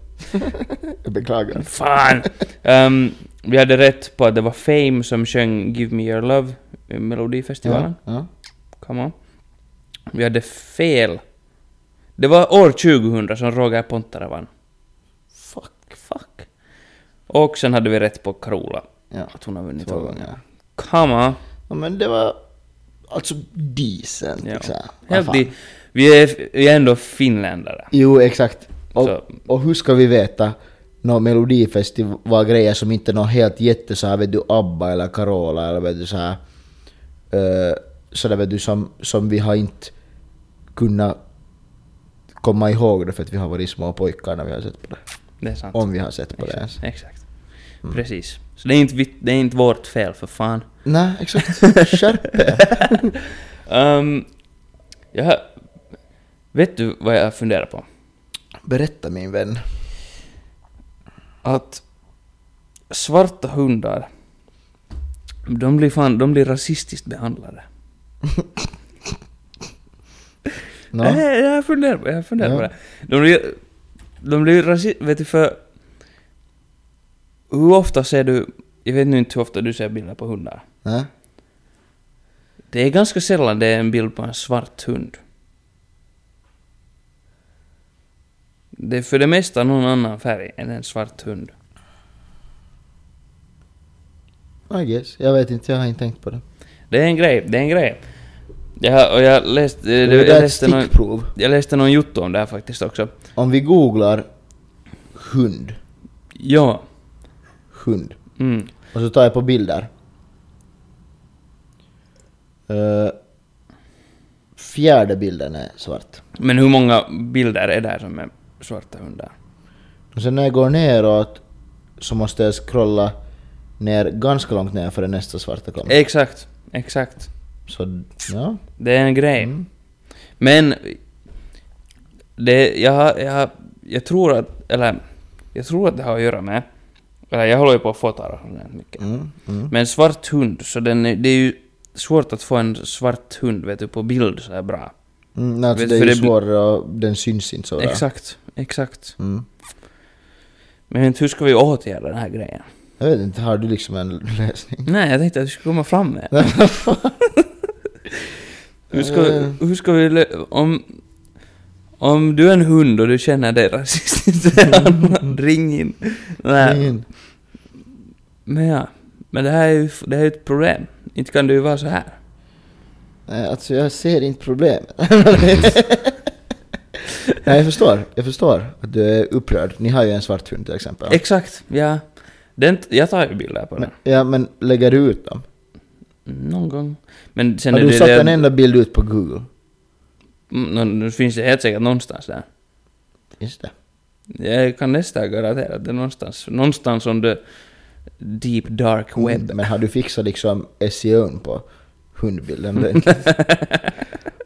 S1: Jag beklagar.
S2: Fan! Um, vi hade rätt på att det var Fame som sjöng Give Me Your Love i Melodifestivalen.
S1: Ja, ja.
S2: Come on. Vi hade fel. Det var år 2000 som Roger Pontare vann. Fuck, fuck. Och sen hade vi rätt på Carola.
S1: ja.
S2: Att hon har vunnit
S1: Två
S2: två gånger.
S1: gånger.
S2: Come on.
S1: ja men det var alltså decent.
S2: Ja.
S1: liksom. Vad
S2: Helt
S1: fan.
S2: i, vi, är, vi är ändå finländare.
S1: Jo, exakt. Och,
S2: Så-
S1: och hur ska vi veta nå melodifestival grejer som inte är nå helt jätte så här, vet du ABBA eller Carola eller vet du så här, eh, så där vet du som, som vi har inte kunnat komma ihåg det för att vi har varit små pojkar när vi har sett på det.
S2: Det är sant.
S1: Om vi har sett på det Mm. ens.
S2: Exakt. exakt. Precis. Så det är, inte, vi- det är inte vårt fel för fan.
S1: Nej, exakt. Skärp er.
S2: Ehm, jag har, vet du vad jag funderar på?
S1: Berätta min vän.
S2: Att svarta hundar, de blir fan, de blir rasistiskt behandlade.
S1: Nå?
S2: Nej, Eh, jag funderar på, jag funderar på
S1: Ja.
S2: det. De blir, de blir rasi- vet du för... Hur ofta ser du, jag vet nu inte hur ofta du ser bilder på hundar.
S1: Nej?
S2: Det är ganska sällan det är en bild på en svart hund. Det är för det mesta någon annan färg än en svart hund.
S1: I guess. Jag vet inte, jag har inte tänkt på det.
S2: Det är en grej, det är en grej. Jag, har- och jag läste,
S1: Det,
S2: eh,
S1: det,
S2: jag
S1: är ett
S2: läste någon,
S1: stickprov.
S2: jag läste någon jotto om det här faktiskt också.
S1: Om vi googlar hund,
S2: Ja.
S1: hund.
S2: Mm.
S1: Och så tar jag på bilder. Eh, fjärde bilden är svart.
S2: Men hur många bilder är där som är svarta hundar?
S1: Och sen när jag går neråt så måste jag scrolla ner ganska långt ner för nästa svarta
S2: Eh.
S1: kommer.
S2: Exakt, exakt.
S1: Så ja.
S2: Det är en grej.
S1: Mm.
S2: Men det, jag, har- jag, har- jag tror att, eller jag tror att det har att göra med, eller jag håller ju på att få tara mycket.
S1: Mm, mm.
S2: Men svart hund, så den, är- det är ju svårt att få en svart hund vet du, på bild så här bra.
S1: Mm, alltså
S2: Vet
S1: det
S2: för
S1: är ju
S2: det blir-
S1: svårare och den syns inte så bra.
S2: Exakt, exakt.
S1: Mm.
S2: Men jag vet inte, hur ska vi åtgärda den här grejen?
S1: Jag vet inte, har du liksom en lösning?
S2: Nej, jag tänkte att vi skulle komma fram med en. hur, ska, hur ska vi... lö- Om, om du är en hund och du känner dig rasistiskt ring in. Nej,
S1: Ingen.
S2: men ja. Men det här är ju det här är ju ett problem. Inte kan du ju vara så här.
S1: Nej, alltså jag ser inte problemet. Nej, jag förstår. Jag förstår att du är upprörd. Ni har ju en svart hund till exempel.
S2: Exakt, ja. Den, jag tar ju bilder på
S1: Men,
S2: den.
S1: ja, men lägger du ut dem?
S2: Någon gång. Men sen
S1: har
S2: är
S1: du
S2: det,
S1: satt
S2: det,
S1: en enda bild ut på Google?
S2: Mm, nå- Nu finns det helt säkert någonstans där.
S1: Just det.
S2: Jag kan nästan garantera att det är någonstans. Någonstans on the deep dark web.
S1: Men har du fixat liksom SEO'n på hundbilden? ordentligt?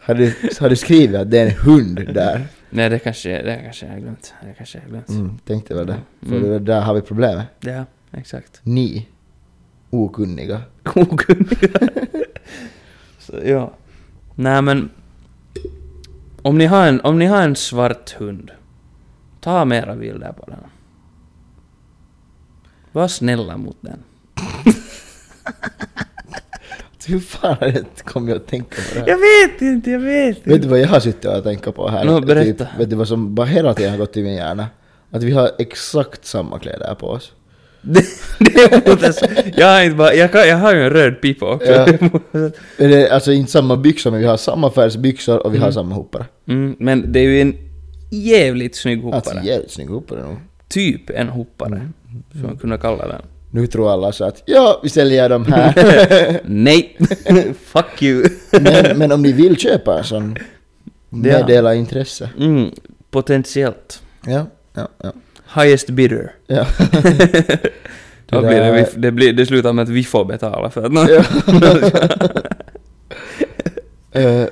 S1: har, du, har du skrivit att det är en hund där?
S2: Nej, det kanske, det kanske jag har glömt. Det kanske jag har glömt.
S1: Mm, tänkte väl det. För
S2: Mm.
S1: det- där har vi problemet.
S2: Ja, exakt.
S1: Ni okunniga.
S2: Okunniga. Så, ja. Nej, men... Om ni, har en, om ni har en svart hund, ta mera bilder på den. Var snälla mot den.
S1: Hur fan har det kommit att tänka på det här?
S2: Jag vet inte, jag vet inte.
S1: Vet du vad jag har suttit och tänkt på här?
S2: Nå, berätta.
S1: Typ, vet du vad som bara hela tiden har gått i min hjärna? Att vi har exakt samma kläder på oss.
S2: Det, det är mot en, s- jag, har inte bara, jag, kan, jag har ju en röd pipa också.
S1: Ja. Eller, alltså inte samma byxor, men vi har samma färgs byxor och vi har samma hoppare.
S2: Mm, men det är ju en jävligt snygg hoppare.
S1: Alltså jävligt snygg hoppare nog.
S2: typ en hoppare, som man kunde kalla den.
S1: Mm. Nu tror alla så att ja, vi säljer dem här.
S2: Eh, Nej! Fuck you!
S1: men, men om ni vill köpa en sån, meddela intresse.
S2: Mm, potentiellt.
S1: Ja, ja, ja.
S2: Highest bidder.
S1: ja.
S2: Då
S1: Det
S2: blir det,
S1: där-
S2: vi, det, blir, det slutar med att vi får betala för att
S1: Ja. Eh,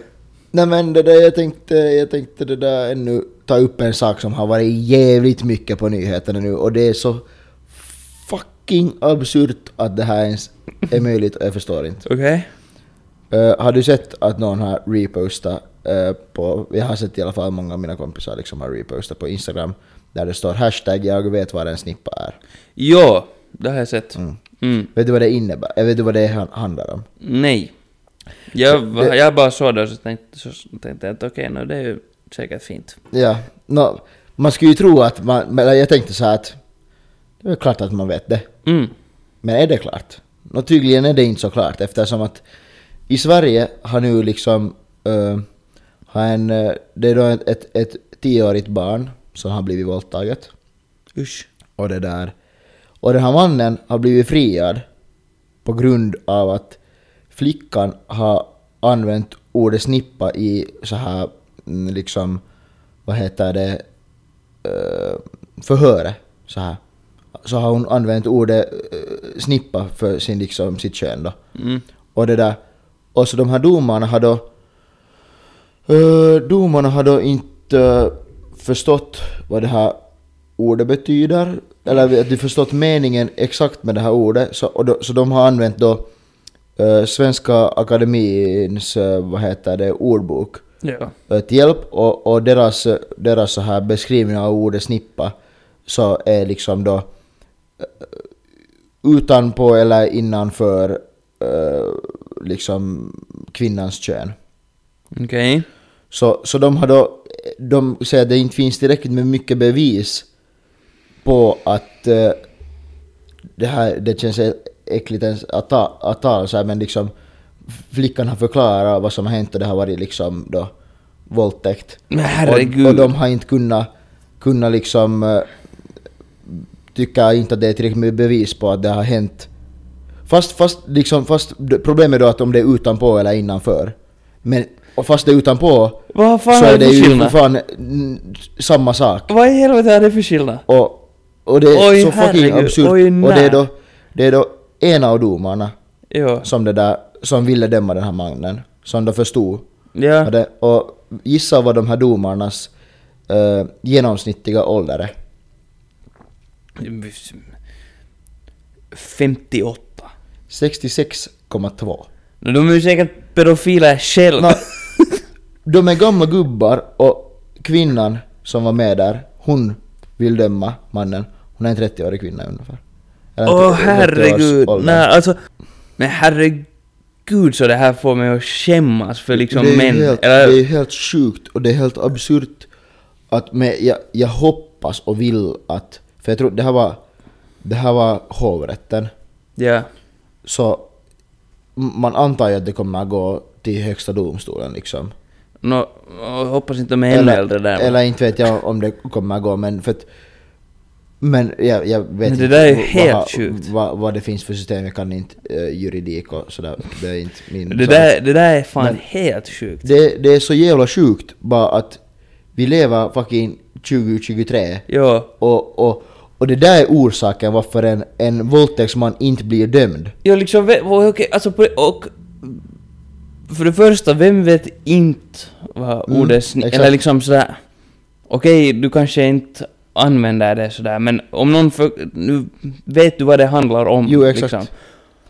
S1: nej men det där, jag tänkte, jag tänkte det där ännu ta upp en sak som har varit jävligt mycket på nyheterna nu och det är så fucking absurt att det här ens är möjligt och jag förstår inte.
S2: Okej?
S1: Eh, har du sett att någon har repostat eh, på, jag har sett i alla fall många av mina kompisar liksom har repostat på Instagram där det står hashtag jag vet vad en snippa är.
S2: Ja, det har jag sett.
S1: Mm.
S2: Mm.
S1: Vet du vad det innebär? Eh, Vet du vad det han- handlar om?
S2: Nej. Jag, va-
S1: det-
S2: jag bara såg det och så tänkte, så tänkte jag att okej, nå, det är ju säkert fint.
S1: Ja, nå, man skulle ju tro att man, men jag tänkte så här att det är väl klart att man vet det.
S2: Mm.
S1: Men är det klart? Nå tydligen är det inte så klart eftersom att i Sverige har nu liksom eh, har en, eh, det är då ett, ett, ett tioårigt barn som har blivit våldtaget.
S2: Usch.
S1: Och det där. Och den här mannen har blivit friad på grund av att flickan har använt ordet snippa i så här mm, liksom, vad heter det, eh, förhöret. Så här. Så har hon använt ordet eh, snippa för sin, liksom, sitt kön då.
S2: Mm.
S1: Och det där. Och så de här domarna har då... eh, domarna har då inte eh, förstått vad det här ordet betyder. Eller att de förstått meningen exakt med det här ordet. Så, och då, så de har använt då eh, Svenska Akademiens, eh, vad heter det, ordbok
S2: Ja.
S1: eh, till hjälp och, och deras, eh, deras så här beskrivning av ordet snippa så är liksom då eh, utanpå eller innanför eh, liksom kvinnans kön.
S2: Okej.
S1: Så, så de har då, de säger att det inte finns tillräckligt med mycket bevis på att eh, det här, det känns äckligt ens att ta, att ta så här, men liksom flickan har förklarat vad som har hänt och det har varit liksom då våldtäkt.
S2: Men
S1: Och,
S2: herregud.
S1: och de har inte kunnat, kunnat liksom eh, tycka inte att det är tillräckligt med bevis på att det har hänt. Fast, fast, liksom, fast d- problemet är då att om det är utanpå eller innanför. Men och fast det är utanpå
S2: Vad fan
S1: så
S2: är
S1: är
S2: det
S1: det
S2: för
S1: ju för
S2: skillnad?
S1: fan mm, samma sak.
S2: Vad i helvete är det för skillnad?
S1: Och, och det är
S2: Oj,
S1: så fucking
S2: herregud.
S1: absurt.
S2: Oj,
S1: och det är,
S2: nä.
S1: då, det är då ena av domarna
S2: Jo.
S1: som, det där, som ville döma den här mannen, som då förstod
S2: Ja.
S1: och, det, och gissa vad de här domarnas eh, genomsnittliga ålder är.
S2: 58.
S1: 66,2.
S2: No, de är ju säkert pedofiler själv.
S1: Nå, de är gamla gubbar och kvinnan som var med där, hon vill döma mannen. Hon är en 30-årig kvinna ungefär. Eller en
S2: Åh
S1: 30-års
S2: herregud.
S1: ålder.
S2: Nej, alltså. Men herregud så det här får mig att skämmas för liksom
S1: det är ju
S2: män.
S1: Helt,
S2: Eller,
S1: Det är ju helt sjukt och det är helt absurt att men jag, jag hoppas och vill att... För jag tror det här var, det här var hovrätten.
S2: Ja.
S1: så m- man antar ju att det kommer att gå till högsta domstolen liksom.
S2: Nå, jag hoppas inte de är ännu äldre där. men-
S1: eller inte vet jag om det kommer att gå men för att, Men jag, jag vet
S2: Men det
S1: inte
S2: där är
S1: vad-
S2: helt
S1: vad,
S2: sjukt.
S1: Vad, vad det finns för system, jag kan inte eh, juridik och sådär. Det är inte min...
S2: Det
S1: sak.
S2: där, det där är fan
S1: Men-
S2: helt sjukt.
S1: det, det är så jävla sjukt bara att vi lever fucking 2023
S2: Ja.
S1: och, och, och det där är orsaken varför en, en våldtäktsman inte blir dömd.
S2: Ja liksom, ve- och, okej, alltså på, och... För det första, vem vet inte vad
S1: Mm,
S2: ordet sni-
S1: exakt.
S2: Eller liksom sådär... Okej, du kanske inte använder det sådär, men om någon för, Nu vet du vad det handlar om.
S1: Jo, exakt.
S2: Liksom.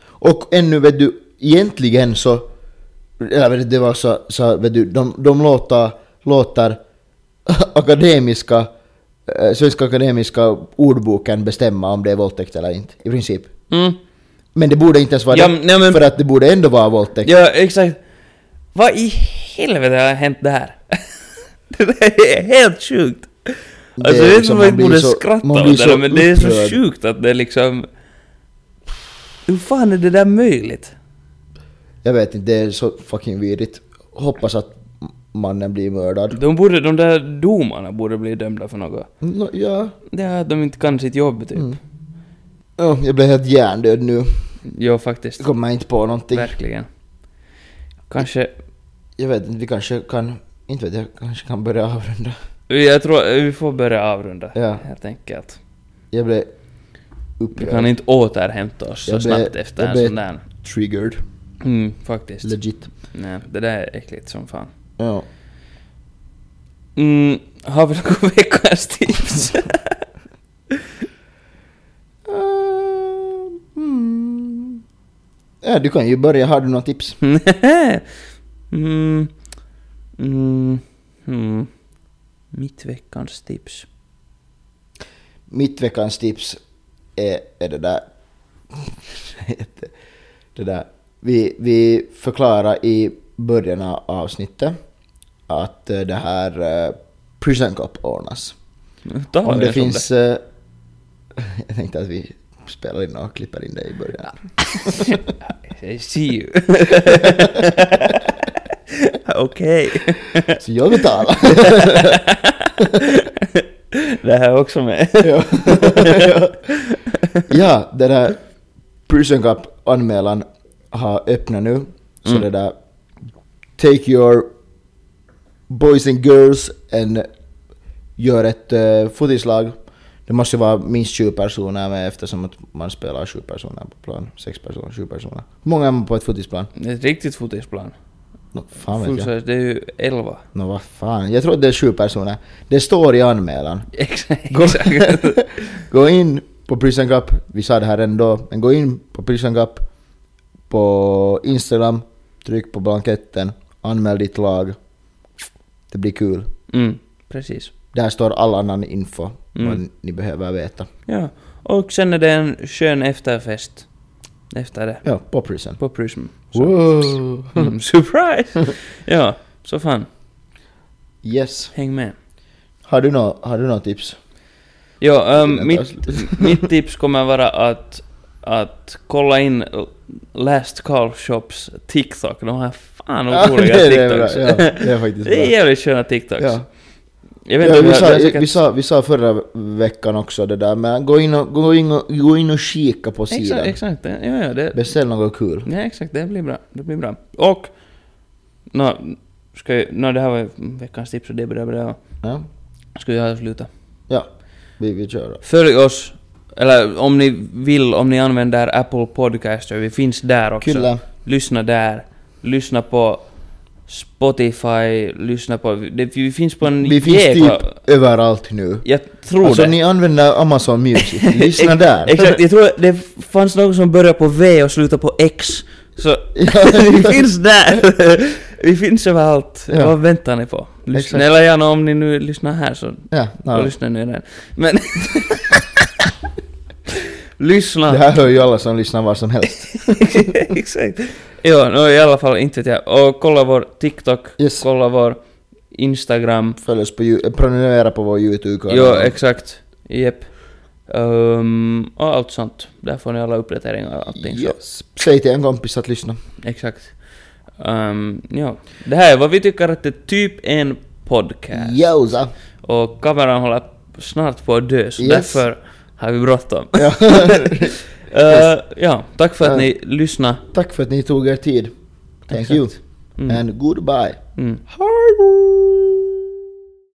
S1: Och ännu vet du, egentligen så... Eller vet du, det var så, så vet du, de, de låter, låter akademiska, eh, Svenska Akademiska ordboken bestämma om det är våldtäkt eller inte, i princip.
S2: Mm.
S1: Men det borde inte ens vara
S2: Ja,
S1: det,
S2: men- nej, men-
S1: för att det borde ändå vara våldtäkt.
S2: Ja, exakt. Vad i helvete har hänt där? det där är helt sjukt.
S1: Det
S2: Alltså
S1: är
S2: jag vet inte
S1: liksom-
S2: om man
S1: man blir
S2: borde
S1: så-
S2: skratta
S1: man
S2: åt
S1: blir
S2: det
S1: så
S2: där, men det är så
S1: upprörd.
S2: sjukt att det är liksom... Hur fan är det där möjligt?
S1: Jag vet inte, det är så fucking vidrigt. Hoppas att mannen blir mördad.
S2: De, borde, de där domarna borde bli dömda för något.
S1: Nå, ja.
S2: Det är att de inte kan sitt jobb typ.
S1: Mm. Ja, jag blev helt hjärndöd nu.
S2: Ja, faktiskt.
S1: Jag kommer inte på någonting.
S2: Verkligen. Kanske...
S1: Jag vet inte, vi kanske kan... Inte vet jag, kanske kan börja avrunda.
S2: Jag tror vi får börja avrunda
S1: Ja.
S2: helt enkelt.
S1: Jag blev
S2: Vi
S1: upprörd.
S2: kan inte återhämta oss så
S1: Jag ber-
S2: snabbt efter
S1: jag
S2: en
S1: ber-
S2: sån där.
S1: Triggered.
S2: Mm, faktiskt.
S1: Legit.
S2: Nej, det där är äckligt som fan.
S1: Ja.
S2: Mm, har vi något veckans tips?
S1: Eh, Mm. ja. Du kan ju börja, har du några tips?
S2: mm, mm, mm. Mitt veckans tips.
S1: Mitt veckans tips är, är det där... det där. Vi, vi förklarar i början av avsnittet att eh, det här eh, Prison Cop ordnas.
S2: Ta
S1: Om
S2: vi
S1: det
S2: en sån
S1: finns... eh, Jag tänkte att vi spelar in och klipper in det i början.
S2: där. I see you. Okej.
S1: Så jag betalar.
S2: Det här är också med.
S1: ja. ja, det där Prison Cup-anmälan har öppnat nu. Så
S2: Mm.
S1: det där Take your boys and girls and gör ett uh, fotislag. Det måste ju vara minst 20 personer med eftersom att man spelar 7 personer på plan. 6 personer, 7 personer. Hur många är man på ett fotisplan?
S2: Det är Ett riktigt fotisplan.
S1: Nå, fan
S2: Full
S1: vet jag.
S2: size, det är ju 11.
S1: Nå vad fan. Jag tror att det är 7 personer. Det står i anmälan.
S2: Exakt.
S1: Gå, gå in på Prison Cup, vi sa det här ändå, men gå in på Prison Cup på Instagram, tryck på blanketten, anmäl ditt lag. Det blir kul.
S2: Mm, precis.
S1: Där står all annan info
S2: Mm.
S1: vad ni behöver veta.
S2: Ja, och sen är det en skön efterfest. Efter det.
S1: Ja, på Prison.
S2: På Prism. Så-
S1: Wow.
S2: Mm, surprise! ja, så fan.
S1: Yes.
S2: Häng med.
S1: Har du några har du nå tips?
S2: Ja, ehm,
S1: Innan
S2: mitt, mitt tips kommer vara att, att kolla in Last Call Shops TikTok. De här fan otroliga
S1: det, är bra.
S2: TikToks.
S1: Ja, det är faktiskt
S2: det är
S1: bra.
S2: jävligt sköna TikToks.
S1: Ja.
S2: Jag
S1: Ja,
S2: om
S1: vi,
S2: jag-
S1: sa,
S2: jag säkert-
S1: vi, sa, vi sa förra veckan också det där men gå in och, gå in och, gå in och kika på sidan.
S2: Exakt, exakt. det- Ja, ja, det,
S1: Beställ något kul.
S2: ja, exakt. Det blir bra. Det blir bra. Och... Nå, ska jag, nå, det här var ju veckans tips och det är bra, bra.
S1: Ja,
S2: Ska jag sluta?
S1: ja. Vi, vi kör då.
S2: Följ oss, eller om ni vill, om ni använder Apple Podcaster, vi finns där också.
S1: Kyllä.
S2: Lyssna där. Lyssna på Spotify, lyssna på... Det, vi finns på en
S1: Vi finns
S2: jäkla-
S1: typ överallt nu.
S2: Jag tror
S1: alltså
S2: det.
S1: ni använder Amazon Music, lyssna
S2: Ex-
S1: där.
S2: Exakt, jag tror det fanns någon som började på V och slutade på X. Så
S1: Ja.
S2: vi finns där! vi finns överallt.
S1: Ja.
S2: Vad väntar ni på? Lyssna,
S1: Exakt.
S2: eller gärna om ni nu lyssnar här så
S1: ja,
S2: Ja.
S1: no.
S2: Lyssna nu redan. Men... lyssna!
S1: Det här hör ju alla som lyssnar var som helst.
S2: Exakt. Ja, no, i alla fall inte vet jag. Och kolla vår TikTok,
S1: Yes.
S2: kolla vår Instagram.
S1: Följ oss på Ju- eh, prenumerera på vår YouTube-kanal.
S2: Jo, exakt. Jep. Ehm, och allt sånt. Där får ni alla uppdateringar och allting. Så.
S1: yes. Säg till en kompis att lyssna.
S2: Exakt. Ehm, ja. Det här är vad vi tycker att det är typ en podcast.
S1: Jausa!
S2: Och kameran håller snart på att dö, så
S1: Yes.
S2: därför har vi bråttom.
S1: Ja.
S2: Eh, ja, tack för att
S1: Eh.
S2: ni lyssnade.
S1: Tack för att ni tog er tid. Thank you.
S2: Exakt. Mm.
S1: And goodbye.
S2: Mm.
S1: Hej då!